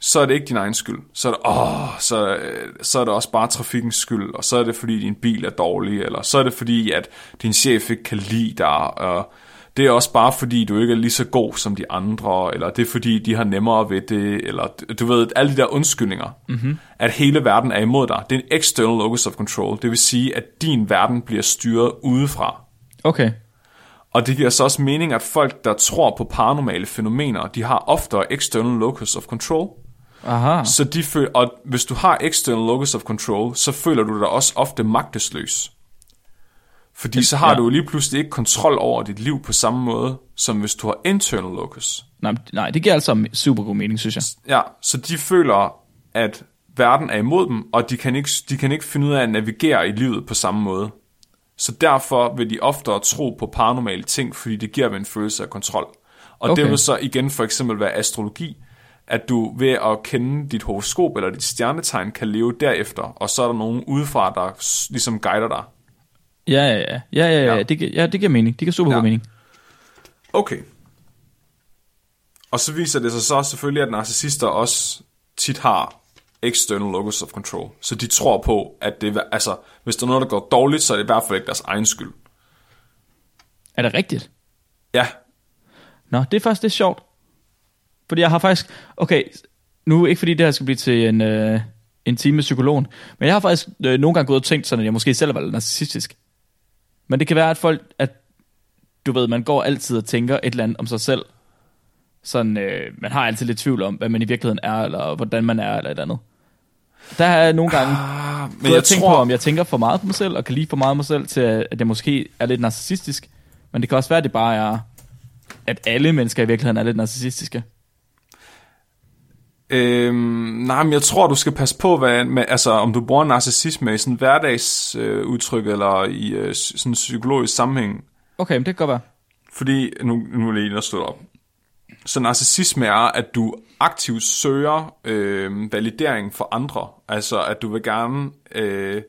så er det ikke din egen skyld. Så er det, åh, så, øh, så er det også bare trafikkens skyld, og så er det, fordi din bil er dårlig, eller så er det, fordi at din chef ikke kan lide dig, og det er også bare, fordi du ikke er lige så god som de andre, eller det er, fordi de har nemmere ved det, eller du ved, alle de der undskyldninger. Mm-hmm. At hele verden er imod dig. Det er en external locus of control. Det vil sige, at din verden bliver styret udefra.
Okay.
Og det giver så også mening, at folk, der tror på paranormale fænomener, de har oftere external locus of control.
Aha.
Så de føl- og hvis du har external locus of control, så føler du dig også ofte magtesløs. Fordi så har
Ja.
du jo lige pludselig ikke kontrol over dit liv på samme måde, som hvis du har internal locus.
Nej, men- nej, det giver altså super god mening, synes jeg.
Ja, så de føler, at verden er imod dem, og de kan ikke, de kan ikke finde ud af at navigere i livet på samme måde. Så derfor vil de oftere tro på paranormale ting, fordi det giver dem en følelse af kontrol. Og okay.
Okay.
det vil så igen for eksempel være astrologi, at du ved at kende dit horoskop eller dit stjernetegn kan leve derefter, og så er der nogen udefra, der s- ligesom guider dig.
Ja, ja, ja. Ja, ja, ja. ja. Det, gi- ja det giver mening. Det giver super ja. god
Ja.
mening.
Okay. Og så viser det sig så selvfølgelig, at narcissister også tit har external locus of control. Så de tror på, at det er, altså, hvis der er noget, der går dårligt, så er det i hvert fald ikke deres egen skyld.
Er det rigtigt?
Ja,
Nå, det er faktisk lidt sjovt. Fordi jeg har faktisk... Okay, nu ikke fordi det her skal blive til en, øh, en time med psykologen, men jeg har faktisk øh, nogle gange gået og tænkt sådan, at jeg måske selv var lidt narcissistisk. Men det kan være, at folk... At, du ved, man går altid og tænker et eller andet om sig selv. Sådan, øh, man har altid lidt tvivl om, hvad man i virkeligheden er, eller hvordan man er, eller et eller andet. Der har jeg nogle gange
men jeg
tænker
tror,
på, om jeg tænker for meget på mig selv, og kan lide for meget mig selv, til at jeg måske er lidt narcissistisk. Men det kan også være, at det bare er, at alle mennesker i virkeligheden er lidt narcissistiske.
Øhm, nej, men jeg tror, du skal passe på, hvad, med, altså, om du bruger narcissisme i sådan hverdagsudtryk øh, udtryk eller i øh, s- sådan psykologisk sammenhæng.
Okay, men det kan godt være.
Fordi, nu, nu er jeg lige at slå op. Så narcissisme er, at du aktivt søger øh, validering for andre. Altså, at du vil gerne, øh,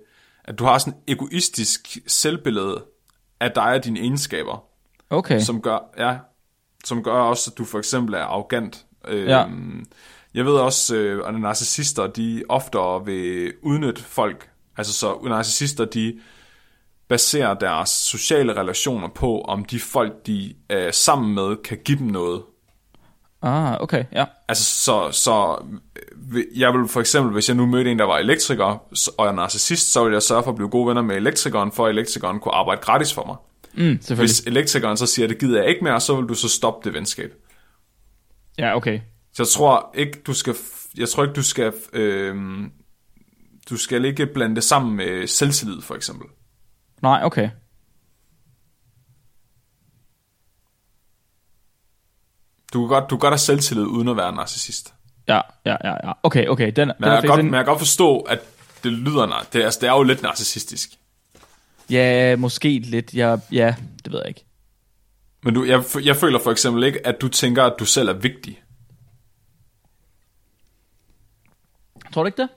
at du har sådan et egoistisk selvbillede af dig og dine egenskaber,
Okay, Som...
som gør, ja, som gør også, at du for eksempel er arrogant. Øh,
Ja.
Jeg ved også, øh, at narcissister, de oftere vil udnytte folk. Altså, så narcissister, de baserer deres sociale relationer på, om de folk, de øh, er sammen med, kan give dem noget.
ah, okay, ja.
Altså, så, så øh, jeg vil for eksempel, hvis jeg nu mødte en, der var elektriker, s- og jeg er narcissist, så ville jeg sørge for at blive gode venner med elektrikeren, for at elektrikeren kunne arbejde gratis for mig.
Mm, selvfølgelig.
Hvis elektrikeren så siger, det gider jeg ikke mere, så vil du så stoppe det venskab.
Ja, okay.
Så jeg tror ikke, du skal, jeg tror ikke, du skal, øh, du skal ikke blande det sammen med selvtillid, for eksempel.
Nej, okay.
Du kan godt, du kan godt have selvtillid uden at være narcissist.
Ja, ja, ja, ja. Okay, okay. Den, den
Men jeg,
er
kan godt,
godt,
men jeg kan godt forstå, at det lyder, nar- det, er- altså, det er jo lidt narcissistisk.
Ja, måske lidt. Ja, ja, det ved jeg ikke.
Men du, jeg, f- jeg føler for eksempel ikke, at du tænker, at du selv er vigtig.
Tror du ikke det?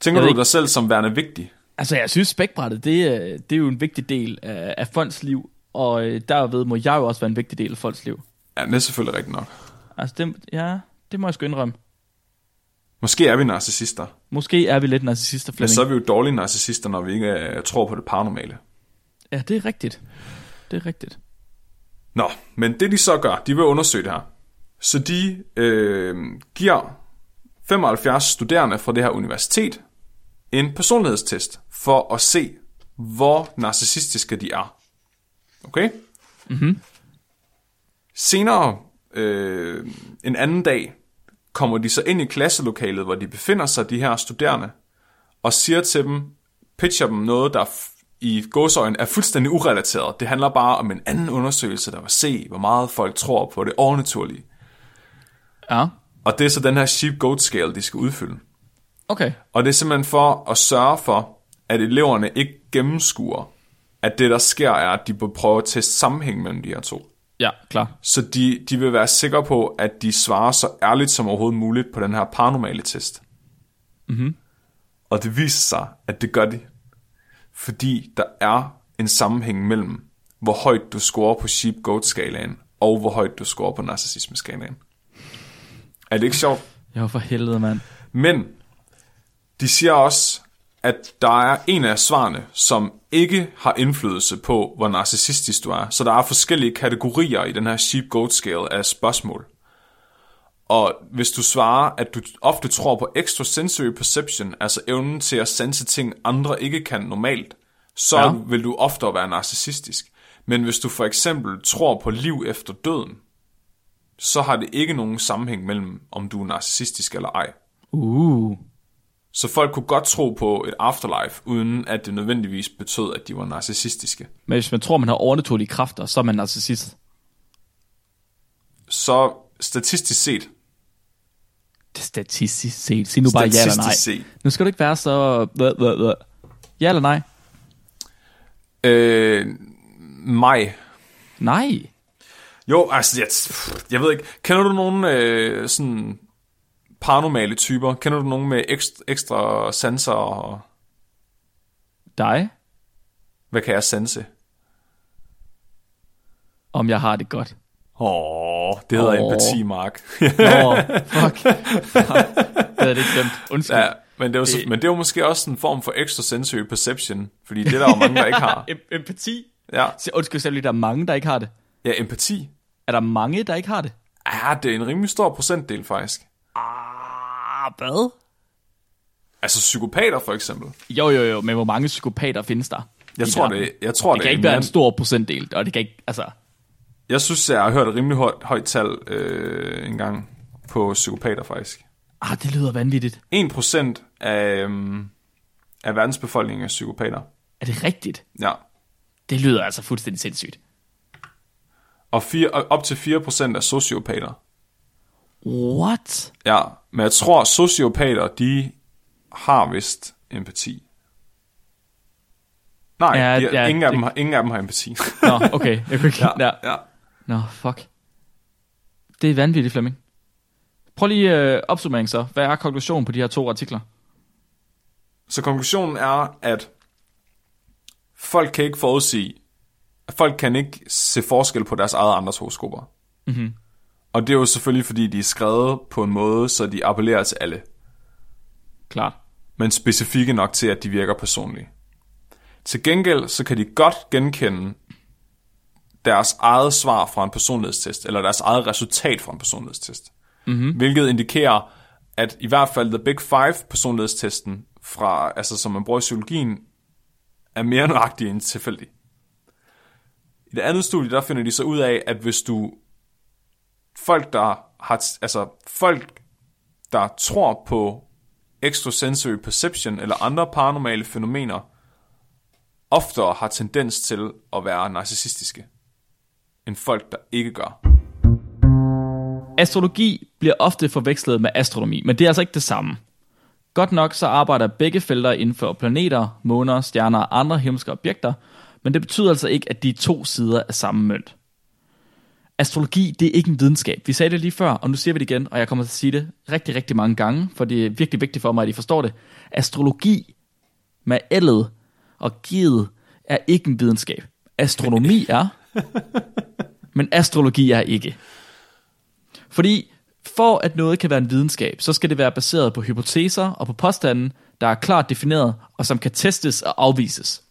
Tænker
Jeg ved
du
ikke.
dig selv som værende vigtig?
Altså, jeg synes, spækbrættet, det, øh, det er jo en vigtig del af, af folks liv, og øh, derved må jeg jo også være en vigtig del af folks liv.
Ja, det er selvfølgelig rigtigt nok.
Altså, det, ja, det må jeg sgu indrømme.
Måske er vi narcissister,
Måske er vi lidt narcissister,
men
Flemming.
så er vi jo dårlige narcissister, når vi ikke øh, tror på det paranormale.
Ja, det er rigtigt. Det er rigtigt.
Nå, men det de så gør, de vil undersøge det her. Så de øh, giver 75 studerende fra det her universitet en personlighedstest for at se, hvor narcissistiske de er. Okay? Mm-hmm. Senere, øh, en anden dag, kommer de så ind i klasselokalet, hvor de befinder sig, de her studerende, og siger til dem, pitcher dem noget, der f- i gåsøjen er fuldstændig urelateret. Det handler bare om en anden undersøgelse, der vil se, hvor meget folk tror på det overnaturlige.
Ja,
Og det er så den her sheep-goat-scale, de skal udfylde.
okay.
Og det er simpelthen for at sørge for, at eleverne ikke gennemskuer, at det, der sker, er, at de prøver at teste sammenhæng mellem de her to.
Ja, klar.
Så de, de vil være sikre på, at de svarer så ærligt som overhovedet muligt på den her paranormale test. Mm-hmm. Og det viser sig, at det gør de. Fordi der er en sammenhæng mellem, hvor højt du scorer på sheep-goat-skalaen, og hvor højt du scorer på narcissisme-skalaen. Er det ikke sjovt?
Jo, for helvede, mand.
Men de siger også, at der er en af svarene, som ikke har indflydelse på, hvor narcissistisk du er. Så der er forskellige kategorier i den her sheep-goat-scale af spørgsmål. Og hvis du svarer, at du ofte tror på extrasensory perception, altså evnen til at sense ting, andre ikke kan normalt, så
Ja.
ja. vil du oftere være narcissistisk. Men hvis du for eksempel tror på liv efter døden, så har det ikke nogen sammenhæng mellem, om du er narcissistisk eller ej.
Uh.
Så folk kunne godt tro på et afterlife, uden at det nødvendigvis betød, at de var narcissistiske.
Men hvis man tror, man har overnaturlige kræfter, så er man narcissist.
Så statistisk set,
Det er statistisk set. Sig nu bare ja eller nej.
Statistisk set.
Nu skal du ikke være så... Hvad, hvad, hvad. Ja eller nej?
øh, mig.
Nej.
Jo, altså, jeg, jeg ved ikke. Kender du nogen øh, sådan paranormale typer? Kender du nogen med ekstra, ekstra sanser? Og,
Dig?
hvad kan jeg sanse?
Om jeg har det godt.
Åh, det hedder
Åh.
oh. empati, Mark.
Åh, fuck. det er det ikke glemt. Undskyld.
ja, men det, var så, men det var måske også en form for extra sensory perception, fordi det er der jo mange, der ikke har.
Em- empati?
Ja,
Så Undskyld, selv der er mange, der ikke har det.
ja empati.
Er der mange, der ikke har det?
Ja, det er en rimelig stor procentdel faktisk.
Ah, hvad?
Altså psykopater for eksempel.
Jo, jo, jo, men hvor mange psykopater findes der?
Jeg
i
tror
verden?
det, jeg tror
Det
det,
kan
er
ikke være
mere
en
end-
stor procentdel, og det kan ikke, altså...
Jeg synes, jeg har hørt et rimelig højt, højt tal øh, en gang på psykopater faktisk.
Ah, det lyder vanvittigt.
1% af, øhm, af verdens befolkning er psykopater.
Er det rigtigt?
Ja.
Det lyder altså fuldstændig sindssygt.
Og fire, og op til 4% er sociopater.
What?
Ja, men jeg tror, sociopater, de har vist empati. Nej,
Ja,
ja, de,
ja,
ja, ingen, af
det-
dem har, ingen af dem har empati.
Nå, okay. Jeg kunne ikke... ja.
ja.
Nå, fuck. Det er vanvittigt, Flemming. Prøv lige øh, opsummering så. Hvad er konklusionen på de her to artikler?
Så konklusionen er, at folk kan ikke forudsige, at folk kan ikke se forskel på deres eget og andres horoskoper. Mm-hmm. Og det er jo selvfølgelig, fordi de er skrevet på en måde, så de appellerer til alle,
Klart.
men specifikke nok til, at de virker personlige. Til gengæld, så kan de godt genkende deres eget svar fra en personlighedstest, eller deres eget resultat fra en personlighedstest. Mm-hmm. Hvilket indikerer, at i hvert fald The Big Five personlighedstesten, fra, altså som man bruger i psykologien, er mere nøjagtig end tilfældig. I det andet studie, der finder de så ud af, at hvis du... Folk, der har... Altså, folk, der tror på extrasensory perception eller andre paranormale fænomener, oftere har tendens til at være narcissistiske, end folk, der ikke gør.
Astrologi bliver ofte forvekslet med astronomi, men det er altså ikke det samme. Godt nok så arbejder begge felter inden for planeter, måner, stjerner og andre himmelske objekter, men det betyder altså ikke, at de er to sider af samme mønt. Astrologi, det er ikke en videnskab. Vi sagde det lige før, og nu siger vi det igen, og jeg kommer til at sige det rigtig, rigtig mange gange, for det er virkelig vigtigt for mig, at I forstår det. Astrologi med ellet og givet er ikke en videnskab. Astronomi er, men astrologi er ikke. Fordi for at noget kan være en videnskab, så skal det være baseret på hypoteser og på påstanden, der er klart defineret, og som kan testes og afvises.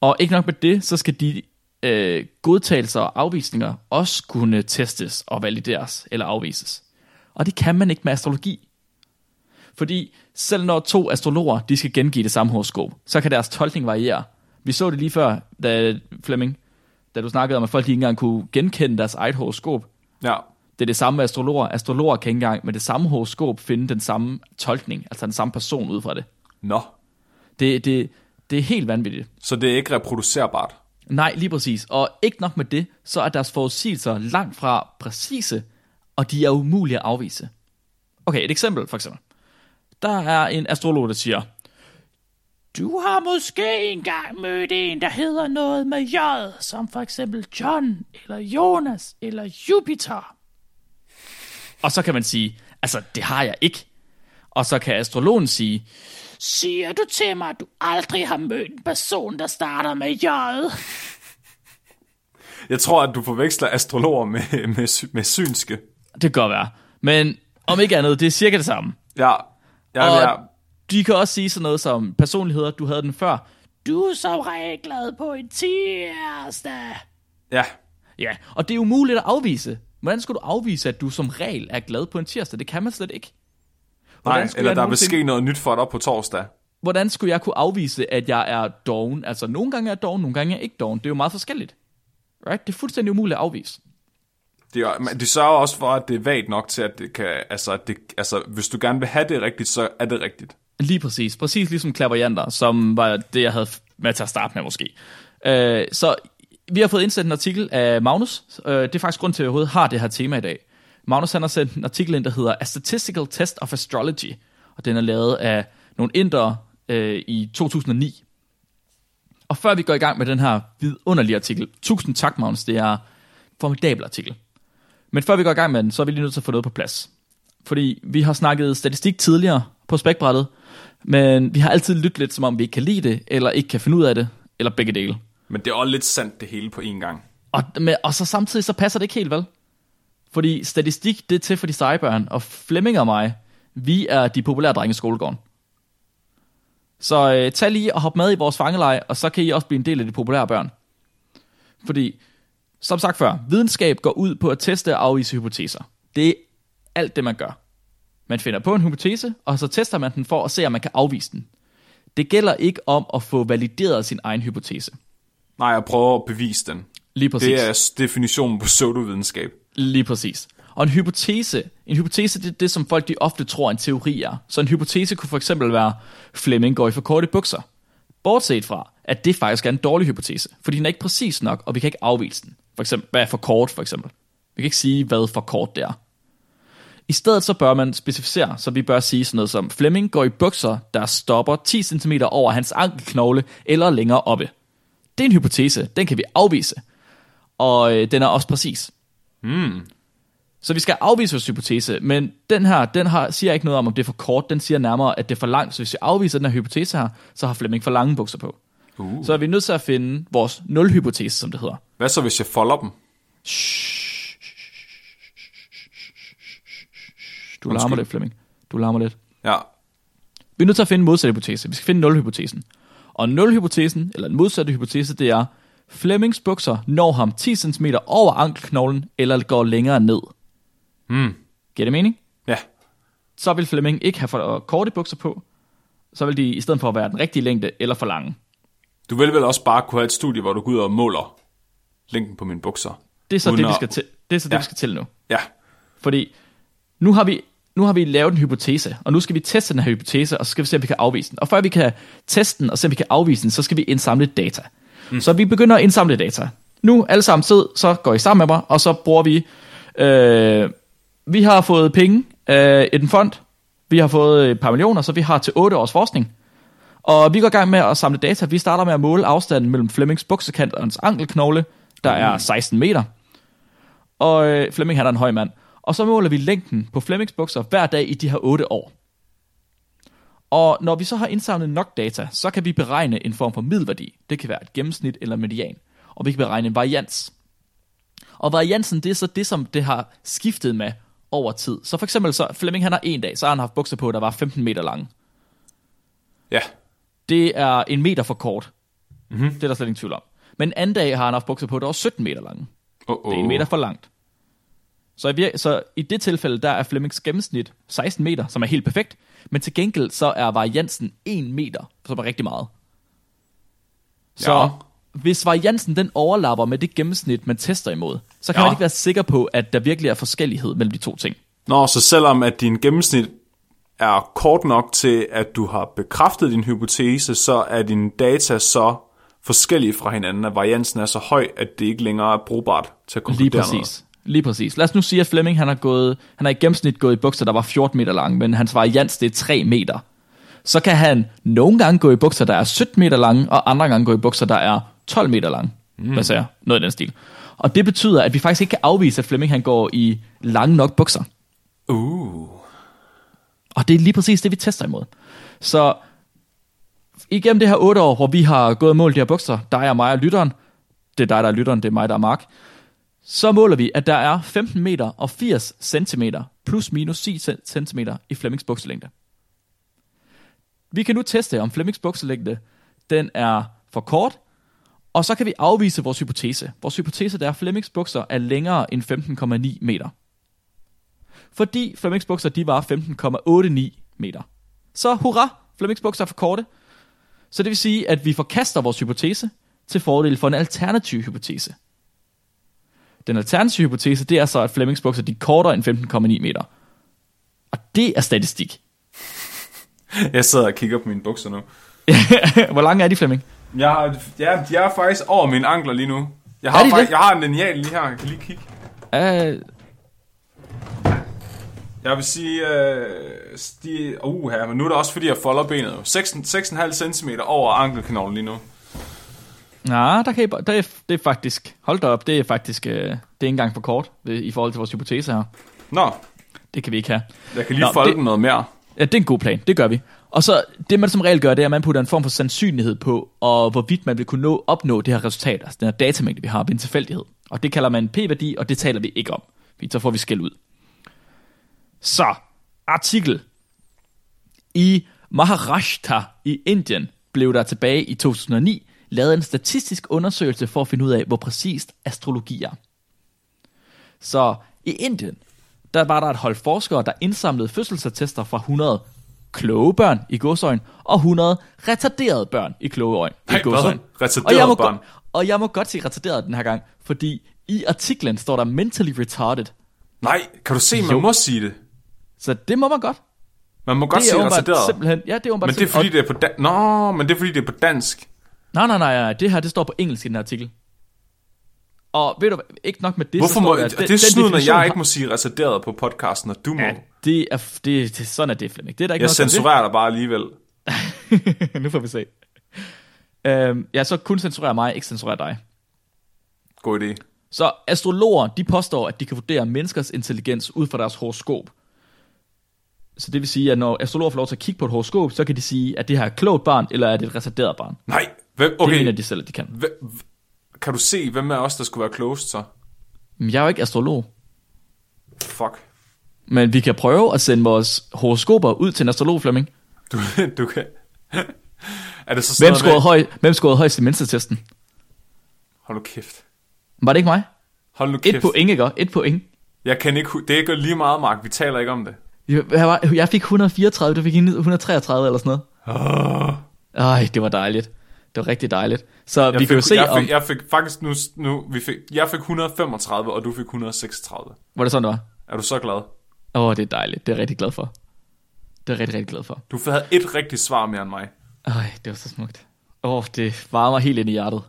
Og ikke nok med det, så skal de øh, godtagelser og afvisninger også kunne testes og valideres eller afvises. Og det kan man ikke med astrologi. Fordi selv når to astrologer de skal gengive det samme horoskop, så kan deres tolkning variere. Vi så det lige før, da Flemming, da du snakkede om, at folk de ikke engang kunne genkende deres eget horoskop.
Ja.
Det er det samme med astrologer. Astrologer kan ikke engang med det samme horoskop finde den samme tolkning, altså den samme person ud fra det.
Nå.
Det, det, det er helt vanvittigt.
Så det er ikke reproducerbart.
Nej, lige præcis. Og ikke nok med det, så er deres forudsigelser langt fra præcise, og de er umulige at afvise. Okay, et eksempel for eksempel. Der er en astrolog, der siger, du har måske engang mødt en, der hedder noget med J, som for eksempel John, eller Jonas, eller Jupiter. Og så kan man sige, altså det har jeg ikke. Og så kan astrologen sige, siger du til mig, at du aldrig har mødt en person, der starter med J?
Jeg tror, at du forveksler astrologer med, med, sy- med synske.
Det kan godt være. Men om ikke andet, det er cirka det samme.
Ja. Ja,
Og
ja.
de kan også sige sådan noget som personligheder, du havde den før. Du er som regel glad på en tirsdag.
ja.
Ja, og det er umuligt at afvise. Hvordan skulle du afvise, at du som regel er glad på en tirsdag? Det kan man slet ikke.
Nej,
skulle
eller
jeg
der vil
nogensinde-
ske noget nyt for dig på torsdag.
Hvordan skulle jeg kunne afvise, at jeg er doven? Altså, nogle gange er jeg doven, nogle gange er jeg ikke doven. Det er jo meget forskelligt. Right? Det er fuldstændig umuligt at afvise.
Det, er, men det sørger også for, at det er vagt nok til, at det kan, altså, at det, altså, hvis du gerne vil have det rigtigt, så er det rigtigt.
Lige præcis. Præcis ligesom klaverjanter, som var det, jeg havde med til at starte med måske. Øh, så vi har fået indsendt en artikel af Magnus. Øh, det er faktisk grund til, at jeg overhovedet har det her tema i dag. Magnus han har sendt en artikel ind, der hedder A Statistical Test of Astrology. Og den er lavet af nogle indere øh, i 2009. Og før vi går i gang med den her vidunderlige artikel, tusind tak Magnus, det er en formidabel artikel. Men før vi går i gang med den, så er vi lige nødt til at få noget på plads. Fordi vi har snakket statistik tidligere på spækbrættet, men vi har altid lyttet lidt, som om vi ikke kan lide det, eller ikke kan finde ud af det, eller begge dele.
Men det er også lidt sandt det hele på én gang.
Og, med, og så samtidig så passer det ikke helt, vel? Fordi statistik, det er til for de seje børn, og Flemming og mig, vi er de populære drenge i skolegården. Så øh, tag lige og hop med i vores fangelej, og så kan I også blive en del af de populære børn. Fordi, som sagt før, videnskab går ud på at teste og afvise hypoteser. Det er alt det, man gør. Man finder på en hypotese, og så tester man den for at se, om man kan afvise den. Det gælder ikke om at få valideret sin egen hypotese.
Nej, jeg prøver at bevise den.
Lige præcis.
Det er s- definitionen på pseudovidenskab.
Lige præcis. Og en hypotese, en hypotese det er det, som folk de ofte tror en teori er. Så en hypotese kunne for eksempel være, Flemming går i for korte bukser. Bortset fra, at det faktisk er en dårlig hypotese, fordi den er ikke præcis nok, og vi kan ikke afvise den. For eksempel, hvad er for kort, for eksempel. Vi kan ikke sige, hvad for kort det er. I stedet så bør man specificere, så vi bør sige sådan noget som, Flemming går i bukser, der stopper 10 cm over hans ankelknogle eller længere oppe. Det er en hypotese, den kan vi afvise. Og øh, den er også præcis. Så vi skal afvise vores hypotese, men den her, den har, siger ikke noget om, om det er for kort, den siger nærmere, at det er for langt, så hvis vi afviser den her hypotese her, så har Flemming for lange bukser på. Uh. Så er vi nødt til at finde vores nulhypotese, som det hedder.
Hvad så, hvis jeg folder dem?
Du larmer lidt, Flemming. Du larmer lidt.
Ja.
Vi er nødt til at finde en modsat hypotese. Vi skal finde nulhypotesen. Og nulhypotesen, eller den modsatte hypotese, det er, Flemmings bukser når ham 10 cm over ankelknoglen, eller går længere ned. Hmm. Giver det mening?
Ja.
så vil Flemming ikke have for øh, korte bukser på, så vil de i stedet for at være den rigtige længde eller for lange.
Du vil vel også bare kunne have et studie, hvor du går ud og måler længden på mine bukser.
Det er så
Uden
det, vi
at-
skal til, det er så det,
Ja.
vi skal til nu.
Ja.
Fordi nu har, vi, nu har vi lavet en hypotese, og nu skal vi teste den her hypotese, og så skal vi se, om vi kan afvise den. Og før vi kan teste den, og se, om vi kan afvise den, så skal vi indsamle data. Mm. Så vi begynder at indsamle data. Nu alle sammen sidder, så går I sammen med mig, og så bruger vi... Øh, vi har fået penge øh, i den fond. Vi har fået et par millioner, så vi har til 8 års forskning. Og vi går i gang med at samle data. Vi starter med at måle afstanden mellem Flemmings buksekant og hans ankelknogle, der er 16 meter. Og øh, Flemming han er en høj mand. Og så måler vi længden på Flemmings bukser hver dag i de her 8 år. Og når vi så har indsamlet nok data, så kan vi beregne en form for middelværdi. Det kan være et gennemsnit eller median. Og vi kan beregne en varians. Og variansen, det er så det, som det har skiftet med over tid. Så for eksempel, så Flemming han har en dag, så har han haft bukser på, der var 15 meter lange
Ja.
det er en meter for kort. Mm-hmm. Det er der slet ingen tvivl om. Men anden dag har han haft bukser på, der var 17 meter lange.
Oh, oh.
Det er en meter for langt. Så i, vir- så i det tilfælde, der er Flemings gennemsnit 16 meter, som er helt perfekt, men til gengæld så er variansen 1 meter, som er rigtig meget. Så
Ja.
ja. hvis variansen den overlapper med det gennemsnit, man tester imod, så kan
Ja.
ja. man ikke være sikker på, at der virkelig er forskellighed mellem de to ting.
Nå, så selvom at din gennemsnit er kort nok til, at du har bekræftet din hypotese, så er dine data så forskellige fra hinanden, at variansen er så høj, at det ikke længere er brugbart til at konkludere
Lige
Noget.
præcis. Lige præcis. Lad os nu sige, at Flemming han har, gået, han har i gennemsnit gået i bukser, der var 14 meter lange, men hans varians det er 3 meter. Så kan han nogle gange gå i bukser, der er 17 meter lange, og andre gange gå i bukser, der er 12 meter lange. Mm. Hvad siger jeg? Noget i den stil. Og det betyder, at vi faktisk ikke kan afvise, at Flemming han går i lange nok bukser.
Uh.
Og det er lige præcis det, vi tester imod. Så igennem det her otte år, hvor vi har gået og målt de her bukser, dig og mig og lytteren, det er dig, der er lytteren, det er mig, der er Mark, så måler vi, at der er 15 meter og 80 centimeter, plus minus 10 centimeter i Flemmings bukselængde. Vi kan nu teste, om Flemmings bukselængde, den er for kort, og så kan vi afvise vores hypotese. Vores hypotese det er, at Flemmings bukser er længere end 15,9 meter fordi Flemmings bukser, de var 15,89 meter. Så hurra, Flemmings bukser er for korte. Så det vil sige, at vi forkaster vores hypotese til fordel for en alternativ hypotese. Den alternative hypotese, det er så, at Flemmings bukser, de er kortere end 15,9 meter. Og det er statistik.
Jeg sidder og kigger på mine bukser nu.
Hvor lange er de, Flemming?
Jeg, har, jeg, jeg er faktisk over mine ankler lige nu. Jeg har,
Er de
faktisk,
det?
jeg har en lineal lige her, jeg kan lige kigge.
Uh,
Jeg vil sige, øh, de, uh, her, men nu er det også fordi, jeg folder benet. jo. 16 6,5 cm over ankelknoglen lige nu.
nej, der kan I, bare- der er, det er faktisk... Hold da op, det er faktisk... Uh, det er ikke engang for kort ved, i forhold til vores hypotese her.
Nå,
Det kan vi ikke have.
jeg kan lige
Nå,
folde
det-
den noget mere.
Ja, det er en god plan. Det gør vi. Og så, det man som regel gør, det er, at man putter en form for sandsynlighed på, og hvorvidt man vil kunne nå, opnå det her resultat, altså den her datamængde, vi har ved en tilfældighed. Og det kalder man en p-værdi, og det taler vi ikke om. Fordi så får vi skæld ud. Så, artikel. I Maharashtra i Indien blev der tilbage i 2009 lavet en statistisk undersøgelse for at finde ud af, hvor præcist astrologi er. Så i Indien, der var der et hold forskere, der indsamlede fødselsattester fra 100 kloge børn i godsøjen, og 100 retarderede børn i kloge øjne.
Hey,
i godsøjen.
hvad? Retarderede
og jeg må
børn?
Godt, og jeg må godt sige retarderet den her gang, fordi i artiklen står der mentally retarded.
Nej, kan du se, man
Jo.
må sige det.
Så det må man godt.
Man må godt
Det
sige
er åbenbart
retarderet.
simpelthen... Ja, det er åbenbart
Men det er fordi, det er på dansk. Nå, men det er fordi, det er på dansk.
Nej, nej, nej, nej, det her, det står på engelsk i den her artikel. Og ved du hvad, ikke nok med det, så
Hvorfor
står
må...
der,
Det,
at
det er snyd, når
definition
jeg
har-
ikke må sige retarderet på podcasten, og du må.
Ja, det er, f- det, det, sådan er det, Flemming. Det er der ikke
Jeg
noget at gøre
censurerer dig bare alligevel.
ved. nu får vi se. Øhm, ja, så kun censurerer mig, ikke censurerer dig.
God idé.
Så astrologer, de påstår, at de kan vurdere menneskers intelligens ud fra deres horoskop. Så det vil sige, at når astrologer får lov til at kigge på et horoskop, så kan de sige, at det her er et klogt barn, eller er det et retarderet barn. Det
Nej, hvem...
okay. mener
Okay,
de selv, at de kan.
hvem, kan du se, hvem af os, der skulle være klogest så?
Men jeg er jo ikke astrolog.
Fuck.
Men vi kan prøve at sende vores horoskoper ud til en astrolog, Flemming.
Du, du kan... Er det så sådan
Hvem
noget
scorede,
med-
høj, hvem scorede højst i mindstetesten?
Hold nu kæft.
Var det ikke mig?
Hold nu
Et
kæft.
point, ikke? også? Et point.
Jeg kan ikke... hu- Det er ikke lige meget, Mark. Vi taler ikke om det.
Jeg jeg var- jeg fik 134, du fik 133 eller sådan noget. Ah. Ej, det var dejligt. Det var rigtig dejligt. Så vi
Jeg
kan jo
fik,
se
jeg
om...
fik, jeg fik faktisk nu, nu vi fik, jeg fik 135, og du fik 136.
Var det sådan, det var?
Er du så glad?
Åh, oh, det er dejligt. Det er jeg rigtig glad for. Det er jeg rigtig, rigtig glad for.
Du havde et rigtigt svar mere end mig.
Ej, det var så smukt. Åh, oh, det varmer helt ind i hjertet.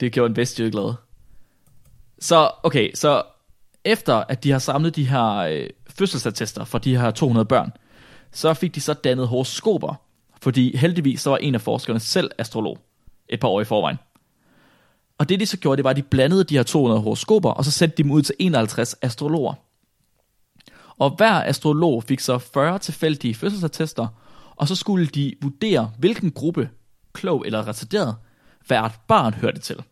Det gjorde en vestjyde glad. Så, okay, så efter at de har samlet de her øh, fødselsattester fra de her 200 børn, så fik de så dannet horoskoper, fordi heldigvis så var en af forskerne selv astrolog et par år i forvejen. Og det de så gjorde, det var, at de blandede de her 200 horoskoper, og så sendte de dem ud til 51 astrologer. Og hver astrolog fik så 40 tilfældige fødselsattester, og så skulle de vurdere, hvilken gruppe, klog eller retarderet, hvert barn hørte til.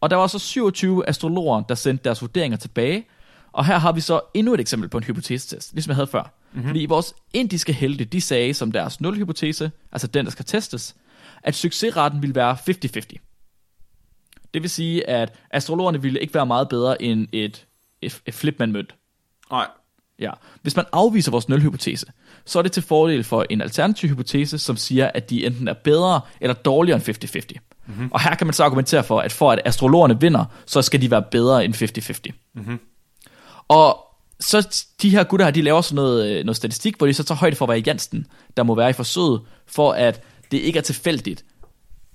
Og der var så 27 astrologer, der sendte deres vurderinger tilbage, og her har vi så endnu et eksempel på en hypotesetest, ligesom jeg havde før. Mm-hmm. Fordi vores indiske helte, de sagde som deres nulhypotese, altså den, der skal testes, at succesraten ville være 50-50. Det vil sige, at astrologerne ville ikke være meget bedre end et et, et flip med en mønt.
Nej.
Ja. Hvis man afviser vores nulhypotese, så er det til fordel for en alternativ hypotese, som siger, at de enten er bedre eller dårligere end 50-50. Mm-hmm. Og her kan man så argumentere for, at for at astrologerne vinder, så skal de være bedre end 50-50. Mm-hmm. Og så de her gutter her, de laver sådan noget, øh, noget statistik, hvor de så tager højde for, hvad i Jansen, der må være i forsøget, for at det ikke er tilfældigt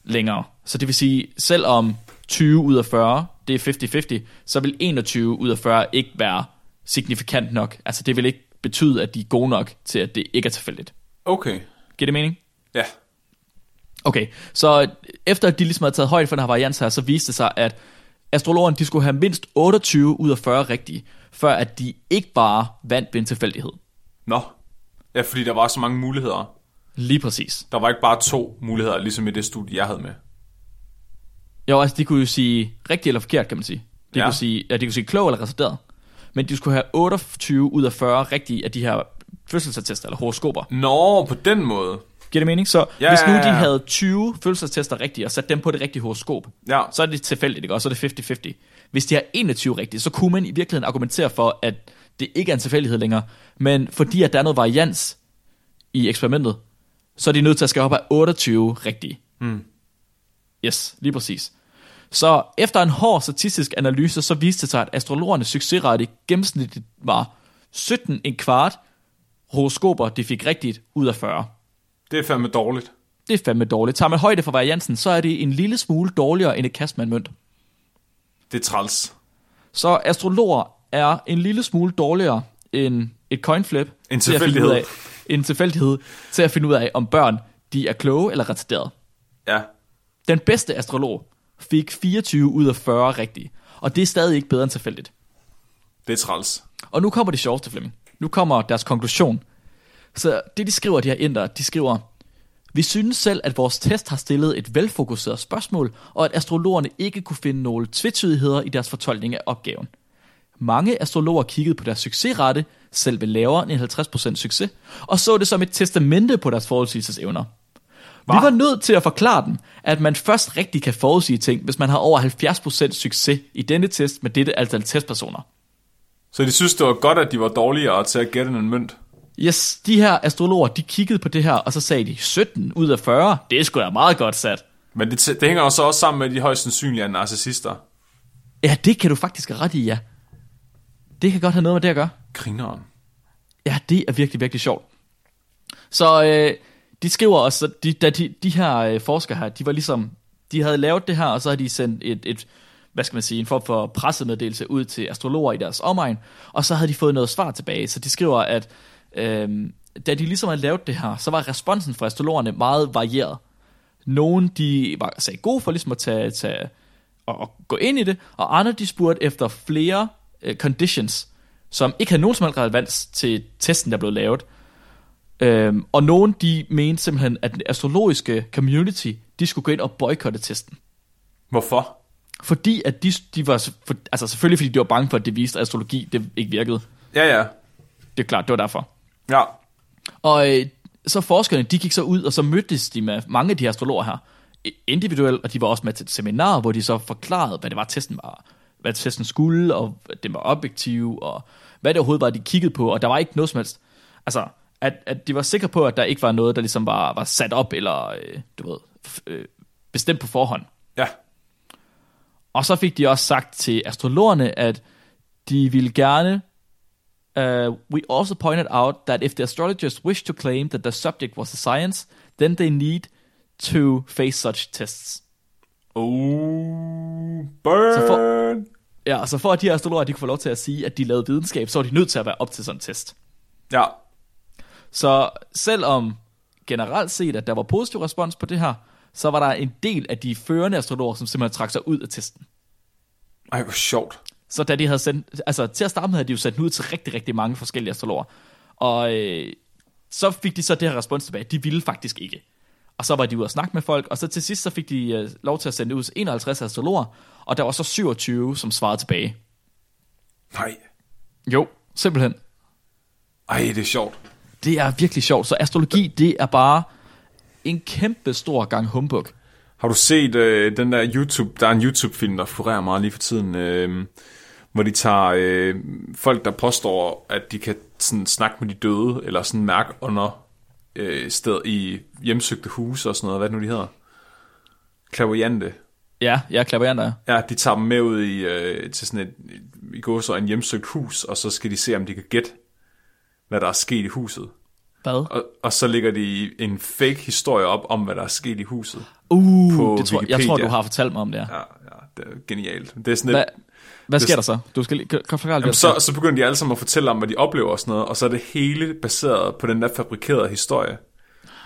længere. Så det vil sige, selvom 20 ud af 40, det er 50-50, så vil 21 ud af 40 ikke være signifikant nok. Altså det vil ikke betyde, at de er gode nok til, at det ikke er tilfældigt.
Okay.
Giver det mening?
Ja.
Okay, så efter at de ligesom havde taget højde for den her varians her, så viste det sig, at astrologerne de skulle have mindst 28 ud af 40 rigtige, før at de ikke bare vandt ved en tilfældighed.
Nå. Ja, fordi der var så mange muligheder.
Lige præcis.
Der var ikke bare to muligheder, ligesom i det studie, jeg havde med.
Jo, altså de kunne jo sige rigtigt eller forkert, kan man sige. De, ja.
Ja.
kunne, sige, ja, de kunne sige klog eller retarderet. Men de skulle have 28 ud af 40 rigtige af de her fødselsattester eller horoskoper.
Nå, på den måde.
Giver det mening? Så ja,
Ja,
hvis nu
ja, ja.
de havde 20 fødselsattester rigtige og sat dem på det rigtige horoskop,
Ja.
så er det tilfældigt, ikke? og så er det 50-50. Hvis de har 21 rigtige, så kunne man i virkeligheden argumentere for, at det ikke er en tilfældighed længere. Men fordi at der er noget varians i eksperimentet, så er de nødt til at skal op af 28 rigtige. Mm. Yes, lige præcis. Så efter en hård statistisk analyse, så viste det sig, at astrologernes succesrate gennemsnitligt var 17 en kvart horoskoper, de fik rigtigt ud af 40.
Det er fandme dårligt.
Det er fandme dårligt. Tager man højde for variansen, så er det en lille smule dårligere end et kast med en mønt.
Det er træls.
Så astrologer er en lille smule dårligere end et coinflip.
En
til at finde ud
tilfældighed.
Af, en tilfældighed til at finde ud af, om børn de er kloge eller retarderede.
Ja.
Den bedste astrolog fik 24 ud af 40 rigtige, og det er stadig ikke bedre end tilfældigt.
Det er træls.
Og nu kommer det sjoveste, Flemming. Nu kommer deres konklusion. Så det, de skriver, de her indere, de skriver, vi synes selv, at vores test har stillet et velfokuseret spørgsmål, og at astrologerne ikke kunne finde nogle tvetydigheder i deres fortolkning af opgaven. Mange astrologer kiggede på deres succesrate, selv ved lavere end 50% succes, og så det som et testamente på deres forudsigelsesevner. Vi
Hva?
var nødt til at forklare dem, at man først rigtig kan forudsige ting, hvis man har over 70% succes i denne test med dette antal testpersoner.
Så de synes, det var godt, at de var dårligere til at gætte end en mønt.
Yes, de her astrologer, de kiggede på det her, og så sagde de, 17 ud af 40, det er sgu da meget godt sat.
Men det, det hænger jo så også sammen med, at de højst sandsynligt er narcissister.
Ja, det kan du faktisk have ret i, ja. Det kan godt have noget med det at gøre.
Grineren.
Ja, det er virkelig, virkelig sjovt. Så øh, de skriver også, at de, da de, de her øh, forskere her, de var ligesom, de havde lavet det her, og så havde de sendt et, et hvad skal man sige, en form for pressemeddelelse ud til astrologer i deres omegn, og så havde de fået noget svar tilbage, så de skriver, at øh, da de ligesom havde lavet det her, så var responsen fra astrologerne meget varieret. Nogle, de var sagde gode for ligesom at tage, tage og, og gå ind i det, og andre, de spurgte efter flere øh, conditions, som ikke havde nogen som helst relevans til testen, der blev lavet. Øhm, og nogen, de mente simpelthen, at den astrologiske community, de skulle gå ind og boykotte testen.
Hvorfor?
Fordi at de, de var, for, altså selvfølgelig fordi de var bange for, at det viste, at astrologi det ikke virkede.
Ja, ja.
Det er klart, det var derfor.
Ja.
Og øh, så forskerne, de gik så ud, og så mødtes de med mange af de her astrologer her, i- individuelt, og de var også med til et seminar, hvor de så forklarede, hvad det var, testen var, hvad testen skulle, og at den var objektiv, og hvad det overhovedet var, de kiggede på, og der var ikke noget som helst. Altså, at, at de var sikre på, at der ikke var noget, der ligesom var, var sat op, eller øh, du ved, f- øh, bestemt på forhånd.
Ja.
Og så fik de også sagt til astrologerne, at de ville gerne... Uh, we also pointed out that if the astrologers wish to claim that the subject was a science, then they need to face such tests.
Oh,
Så
burn.
for- Ja, så for at de her astrologer de kunne få lov til at sige, at de lavede videnskab, så var de nødt til at være op til sådan en test.
Ja.
Så selvom generelt set, at der var positiv respons på det her, så var der en del af de førende astrologer, som simpelthen trak sig ud af testen.
Ej, hvor sjovt.
Så da de havde sendt, altså til at starte med havde de jo sendt den ud til rigtig, rigtig mange forskellige astrologer. Og øh, så fik de så det her respons tilbage, de ville faktisk ikke. Og så var de ude og snakke med folk, og så til sidst så fik de øh, lov til at sende det ud til 51 astrologer, og der var så 27, som svarede tilbage.
Nej.
Jo, simpelthen.
Ej, det er sjovt.
Det er virkelig sjovt, så astrologi, det er bare en kæmpe stor gang humbug.
Har du set øh, den der YouTube, der er en YouTube-film, der florerer meget lige for tiden, øh, hvor de tager øh, folk, der påstår, at de kan sådan snakke med de døde, eller sådan mærke under øh, sted i hjemsøgte huse og sådan noget, hvad er det nu de hedder. Klaviante.
Ja, jeg er klaverant, ja.
Ja, de tager dem med ud i, øh, til sådan et, i går så en hjemsøgt hus, og så skal de se, om de kan gætte, hvad der er sket i huset.
Hvad?
Og, og så ligger de en fake historie op om, hvad der er sket i huset. på
Uh, det tror, jeg
Wikipedia.
tror, du har fortalt mig om det her.
Ja, ja det er genialt. Det er sådan
Hvad,
lidt,
hvad sker
det-
der så? Du skal lige kan- kan forklare lidt.
så, så begynder de alle sammen at fortælle om, hvad de oplever og sådan noget, og så er det hele baseret på den der fabrikerede historie.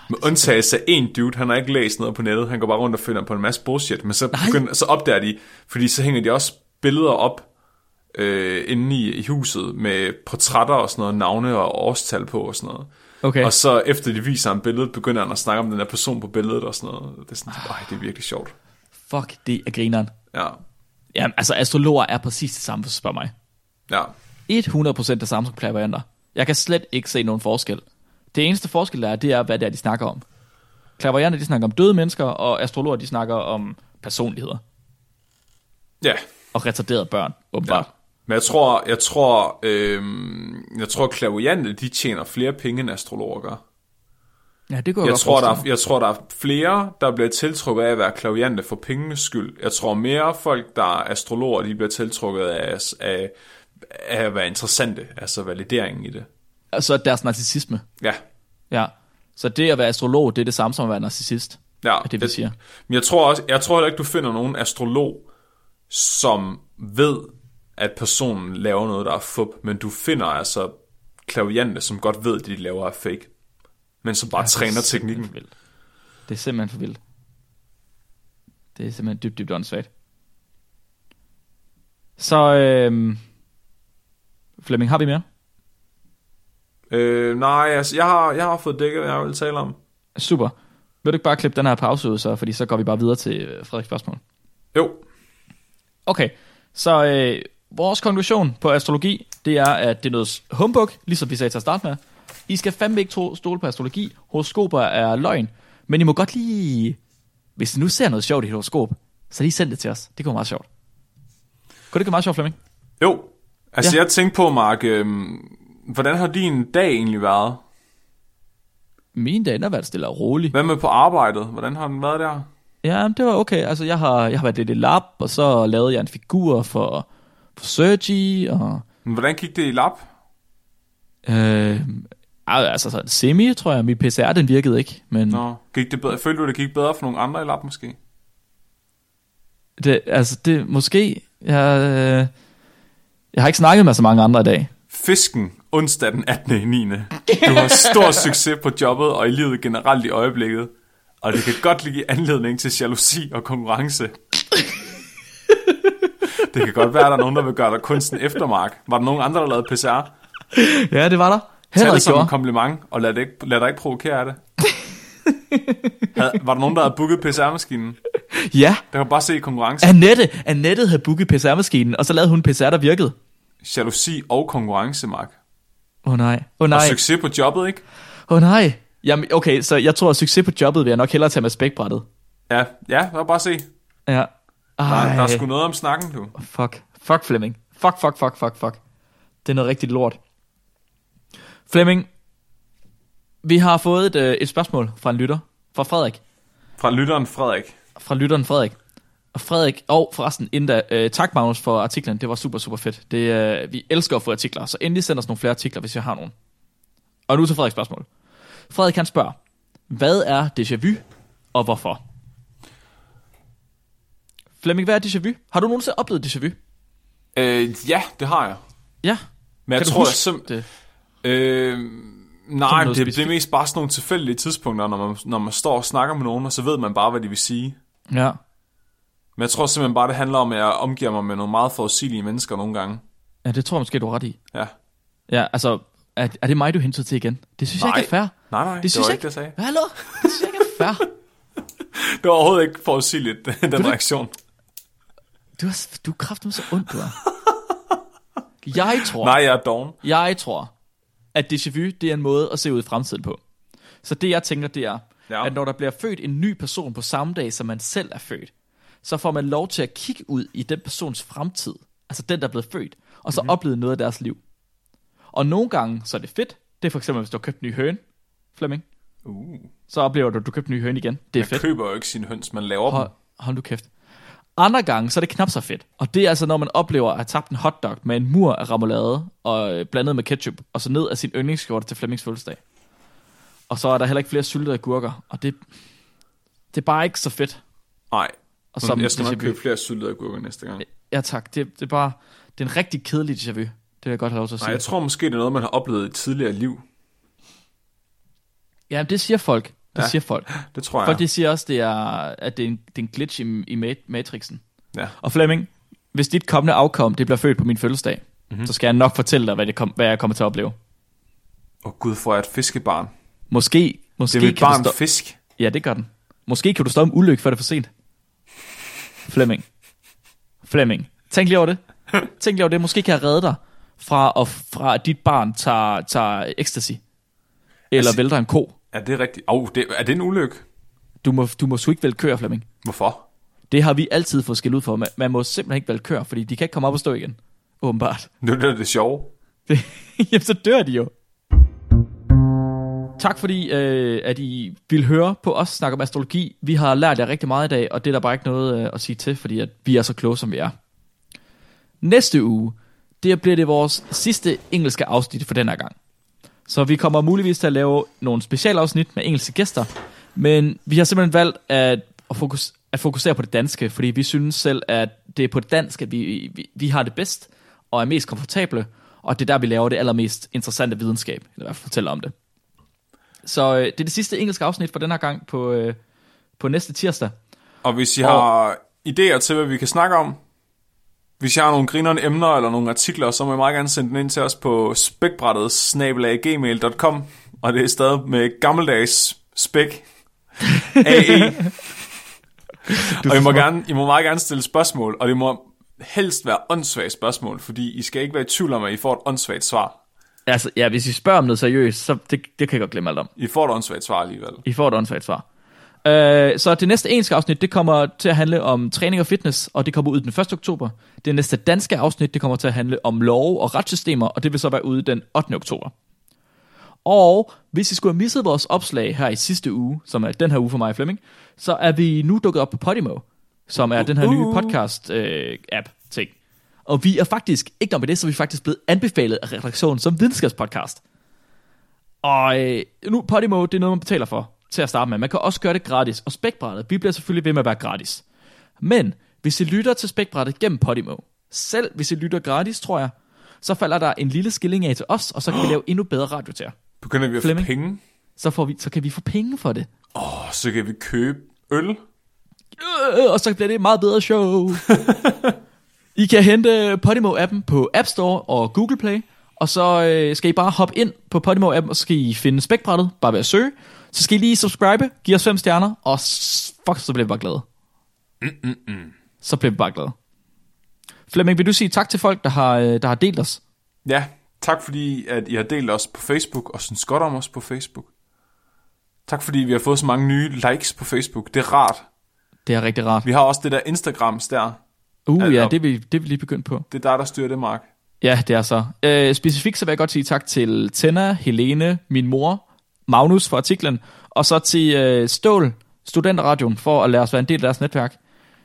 Med undtagelse af en dude, han har ikke læst noget på nettet, han går bare rundt og finder på en masse bullshit, men så, begynder, så opdager de, fordi så hænger de også billeder op øh, inde i, i huset med portrætter og sådan noget, navne og årstal på og sådan noget.
Okay.
Og så efter de viser ham billedet, begynder han at snakke om den der person på billedet og sådan noget. Det er sådan,
Ah.
ej, det er virkelig sjovt.
Fuck, det er grineren.
Ja,
Ja, altså astrologer er præcis det samme, hvis du spørger mig.
ja.
100% det samme som klaverjanter. Jeg kan slet ikke se nogen forskel. Det eneste forskel der er, det er, hvad det er, de snakker om. Klaverjanter, de snakker om døde mennesker, og astrologer, de snakker om personligheder
Ja,
og retarderede børn,
Ja.
åbenbart. Ja.
Men jeg tror, jeg tror, øh, jeg tror, klaviante, de tjener flere penge end astrologer gør.
Ja, det går
Jeg
godt
tror, der
forestille
er, jeg tror, der er flere, der bliver tiltrukket af at være klaviante for pengenes skyld. Jeg tror mere folk, der er astrologer, de bliver tiltrukket af, af, af at være interessante, altså valideringen i det.
mig. Og så deres narcissisme.
Ja,
Ja. Så det at være astrolog, det er det samme som at være narcissist.
ja.
Er det, vi siger.
Men jeg tror, også, jeg tror heller ikke, du finder nogen astrolog, som ved, at personen laver noget, der er fup, men du finder altså klaviante, som godt ved, at det, de laver er fake, men som bare træner teknikken.
Det er, vildt. det er simpelthen for vildt. Det er simpelthen dybt, dybt åndssvagt. Så, øhm, Flemming, har vi mere?
Øh, nej, altså, jeg har, jeg har fået dækket, hvad jeg vil tale om.
Super. Vil du ikke bare klippe den her pause ud, så, fordi så går vi bare videre til øh, Frederiks spørgsmål.
Jo,
Okay, så øh, vores konklusion på astrologi, det er, at det er noget humbug, ligesom vi sagde til at starte med. I skal fandme ikke tro- stole på astrologi. Horoskoper er løgn. Men I må godt lige, hvis I nu ser noget sjovt i et horoskop, så lige send det til os. Det kunne være meget sjovt. Kunne det ikke være meget sjovt, Flemming?
jo. Altså,
Ja.
ja. jeg tænkte på, Mark, øh, hvordan har din dag egentlig været?
Min dag den har været stille og rolig.
Hvad med på arbejdet? Hvordan har den været der?
Ja, men det var okay. Altså, jeg har, jeg har været lidt i lab, og så lavede jeg en figur for, for Sergi, og
Men Hvordan gik det i lab?
Øh, al- altså sådan semi, tror jeg. Mit PCR, den virkede ikke. Men no.
Nå, gik det bedre? Følte du, det gik bedre for nogle andre i lab, måske?
det, altså, det måske... Jeg, øh, jeg har ikke snakket med så mange andre i dag.
Fisken, onsdag den 18. i 9. Du har stor succes på jobbet og i livet generelt i øjeblikket. Og det kan godt give anledning til jalousi og konkurrence. Det kan godt være, at der er nogen, der vil gøre dig kunsten eftermark. Var der nogen andre, der lavede PCR?
Ja, det var der.
Tag
Henrik
det som en
gjorde.
kompliment, og lad, det ikke, lad dig ikke provokere af det. Havde- Var der nogen, der havde booket PCR-maskinen?
Ja,
Der kan bare se konkurrence.
Annette, Annette havde booket PCR-maskinen, og så lavede hun en PCR, der virkede.
Jalousi og konkurrence, Mark.
Åh oh, nej, åh oh,
Og
nej, åh
succes på jobbet, ikke?
oh, nej. Jamen, okay, så jeg tror, at succes på jobbet vil jeg nok hellere tage med spækbrættet.
Ja, ja, der var bare se.
Ja.
Der,
Ej,
der er sgu noget om snakken, du.
fuck. Fuck Flemming. Fuck, fuck, fuck, fuck, fuck. Det er noget rigtigt lort. Flemming, vi har fået et, øh, et spørgsmål fra en lytter, fra Frederik,
Fra lytteren Frederik.
fra lytteren Frederik. Og Frederik, og forresten, inden da, øh, tak Magnus for artiklen, det var super, super fedt. Det, øh, vi elsker at få artikler, så endelig send os nogle flere artikler, hvis vi har nogen. Og nu til Frederiks spørgsmål. Frederik han spørger, hvad er déjà vu, og hvorfor? Flemming, hvad er déjà vu? Har du nogensinde oplevet déjà vu?
Øh, ja, det har jeg.
Ja.
Men jeg
du
tror, jeg
huske
sim-
det?
Øh, nej,
noget
det, det er
specifikt?
mest bare sådan nogle tilfældige tidspunkter, når man, når man står og snakker med nogen, og så ved man bare, hvad de vil sige.
Ja.
Men jeg tror simpelthen bare, det handler om, at jeg omgiver mig med nogle meget forudsigelige mennesker nogle gange.
ja, det tror jeg måske, du har ret i.
Ja.
Ja, altså, er, er det mig, du hentyder til igen? Det synes jeg
Nej.
ikke er fair.
Nej, nej, det, det
synes
var
jeg
ikke det, jeg sagde.
Hallo? Det synes jeg ikke er fair.
Det var overhovedet ikke forudsigeligt, den reaktion.
Du er, du er kraften så ondt, du er. Jeg tror,
Nej, jeg er doven.
jeg tror, at déjà vu, det er en måde at se ud i fremtiden på. Så det, jeg tænker, det er, ja.
Ja.
at når der bliver født en ny person på samme dag, som man selv er født, så får man lov til at kigge ud i den persons fremtid. altså den, der er blevet født, og
Mhm.
så mm-hmm. oplevet noget af deres liv. Og nogle gange, så er det fedt. Det er for eksempel, hvis du har købt en ny høne, Flemming.
Uh.
Så oplever du, at du købte en ny høne igen. Det er
Man
fedt.
køber jo ikke sine høns, man laver
Hold,
dem.
hold nu kæft. Andre gange, så er det knap så fedt. Og det er altså, når man oplever at have tabt en hotdog med en mur af remoulade og øh, blandet med ketchup, og så ned af sin yndlingsskjorte til Flemmings fødselsdag. Og så er der heller ikke flere syltede agurker, og det, det er bare ikke så fedt.
Nej,
Og
Som jeg skal nok
déjà vu.
købe flere syltede agurker næste gang.
Ja tak, det, det er bare, det er en rigtig kedelig déjà vu. Det vil jeg godt have lov til at sige.
Nej, jeg tror måske, det er noget, man har oplevet i et tidligere liv.
Ja, det siger folk. Det ja.
Ja.
siger folk.
Det tror jeg.
Folk de siger også, det er, at det er en, det er en glitch i, i ma- Matrixen.
Ja.
Og Flemming, hvis dit kommende afkom, det bliver født på min fødselsdag,
Mhm.
mm-hmm. så skal jeg nok fortælle dig, hvad, det kom, hvad jeg kommer til at opleve.
Åh gud, får jeg et fiskebarn.
Måske, måske
Det er mit
kan
barn
du stå-
fisk.
Ja, det gør den. Måske kan du stoppe en ulykke, før det er for sent. Flemming. Flemming. Tænk lige over det. Tænk lige over det. Måske kan jeg redde dig fra, at, fra at dit barn tager, tager ecstasy. Eller
Altså-
vælter en ko.
Er det rigtigt? Åh, oh, det, er det en ulykke?
Du må, du må sgu ikke vælte køer, Flemming.
Hvorfor?
Det har vi altid fået skæld ud for. Man, man må simpelthen ikke valgte kør, fordi de kan ikke komme op og stå igen. Åbenbart.
Det er jo det, der er det sjove.
Det, jamen, så dør de jo. Tak fordi, øh, at I vil høre på os snakke om astrologi. Vi har lært jer rigtig meget i dag, og det er der bare ikke noget øh, at sige til, fordi at vi er så kloge, som vi er. Næste uge, det bliver det vores sidste engelske afsnit for den her gang. Så vi kommer muligvis til at lave nogle specialafsnit med engelske gæster, men vi har simpelthen valgt at, at, fokus, at fokusere på det danske, fordi vi synes selv, at det er på det danske, at vi, vi, vi har det bedst og er mest komfortable, og det er der, vi laver det allermest interessante videnskab, eller i hvert fald fortæller om det. Så øh, det er det sidste engelske afsnit for den her gang på, øh, på næste tirsdag.
Og hvis I har idéer til, hvad vi kan snakke om, hvis jeg har nogle grinerende emner eller nogle artikler, så må I meget gerne sende dem ind til os på spækbrættet snabelag.gmail.com Og det er stadig med gammeldags spæk. AE. og I må, gerne, I må meget gerne stille spørgsmål, og det må helst være åndssvage spørgsmål, fordi I skal ikke være i tvivl om, at I får et åndssvagt svar.
Altså, ja, hvis I spørger om noget seriøst, så det, det kan jeg godt glemme alt om.
I får et åndssvagt svar alligevel.
I får et åndssvagt svar. Øh, så det næste engelske afsnit, det kommer til at handle om træning og fitness, og det kommer ud den 1. oktober. Det næste danske afsnit, det kommer til at handle om love og retssystemer, og det vil så være ude den 8. oktober. Og hvis I skulle have misset vores opslag her i sidste uge, som er den her uge for mig og Flemming, så er vi nu dukket op på Podimo, som er den her nye podcast-app ting. Og vi er faktisk, ikke nok med det, så er vi faktisk blevet anbefalet af redaktionen som videnskabspodcast. Og øh, nu, Podimo, det er noget, man betaler for til at starte med. Man kan også gøre det gratis, og spækbrættet, vi bliver selvfølgelig ved med at være gratis. Men hvis I lytter til spækbrættet gennem Podimo, selv hvis I lytter gratis, tror jeg, så falder der en lille skilling af til os, og så kan vi lave endnu bedre radio til jer.
Begynder vi at
Flemming?
få penge,
Så, får vi, så kan vi få penge for det.
og så kan vi købe øl.
Øh, og så bliver det et meget bedre show. I kan hente Podimo-appen på App Store og Google Play, og så øh, skal I bare hoppe ind på Podimo-appen, og så skal I finde spækbrættet, bare ved at søge. Så skal I lige subscribe, give os fem stjerner, og s- fuck, så bliver vi bare glade. Mm-mm-mm. Så bliver vi bare glade. Flemming, vil du sige tak til folk, der har, øh, der har delt os?
Ja, tak fordi, at I har delt os på Facebook, og synes godt om os på Facebook. Tak fordi vi har fået så mange nye likes på Facebook. Det er rart.
Det er rigtig rart.
Vi har også det der Instagrams der.
Uh, ja,
altså-
det er, vi, det er vi lige begyndt på.
Det er dig, der styrer det, Mark.
Ja, det er så. Øh, specifikt så vil jeg godt sige tak til Tenna, Helene, min mor, Magnus for artiklen, og så til øh, Stål, Studenterradioen, for at lade os være en del af deres netværk.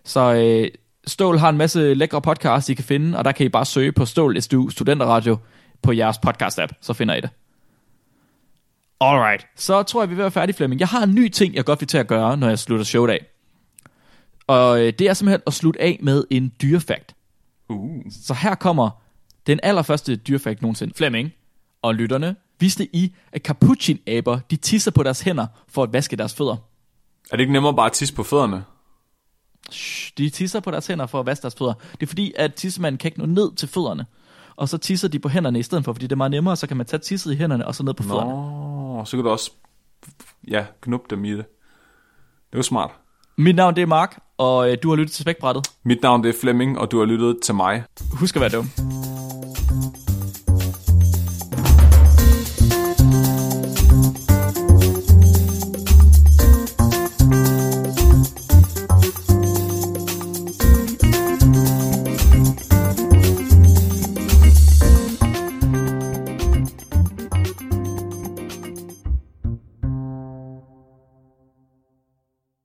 Så øh, Stål har en masse lækre podcasts, I kan finde, og der kan I bare søge på Stål SDU Studenterradio på jeres podcast-app, så finder I det. Alright, så tror jeg, vi er ved at være færdige, Flemming. Jeg har en ny ting, jeg godt vil til at gøre, når jeg slutter showet af. Og øh, det er simpelthen at slutte af med en dyrefakt.
Uh.
Så her kommer den allerførste dyrefakt nogensinde. Flemming og lytterne vidste I, at capuchinaber de tisser på deres hænder for at vaske deres fødder.
Er det ikke nemmere bare at tisse på fødderne?
Shh, de tisser på deres hænder for at vaske deres fødder. Det er fordi, at tissemanden kan ikke nå ned til fødderne. Og så tisser de på hænderne i stedet for, fordi det er meget nemmere, så kan man tage tisset i hænderne og så ned på fødderne.
Åh, så kan du også ja, knuppe dem i det. Det er jo smart.
Mit navn det er Mark, og øh, du har lyttet til Spækbrættet.
Mit navn det er Flemming, og du har lyttet til mig.
Husk at være dum.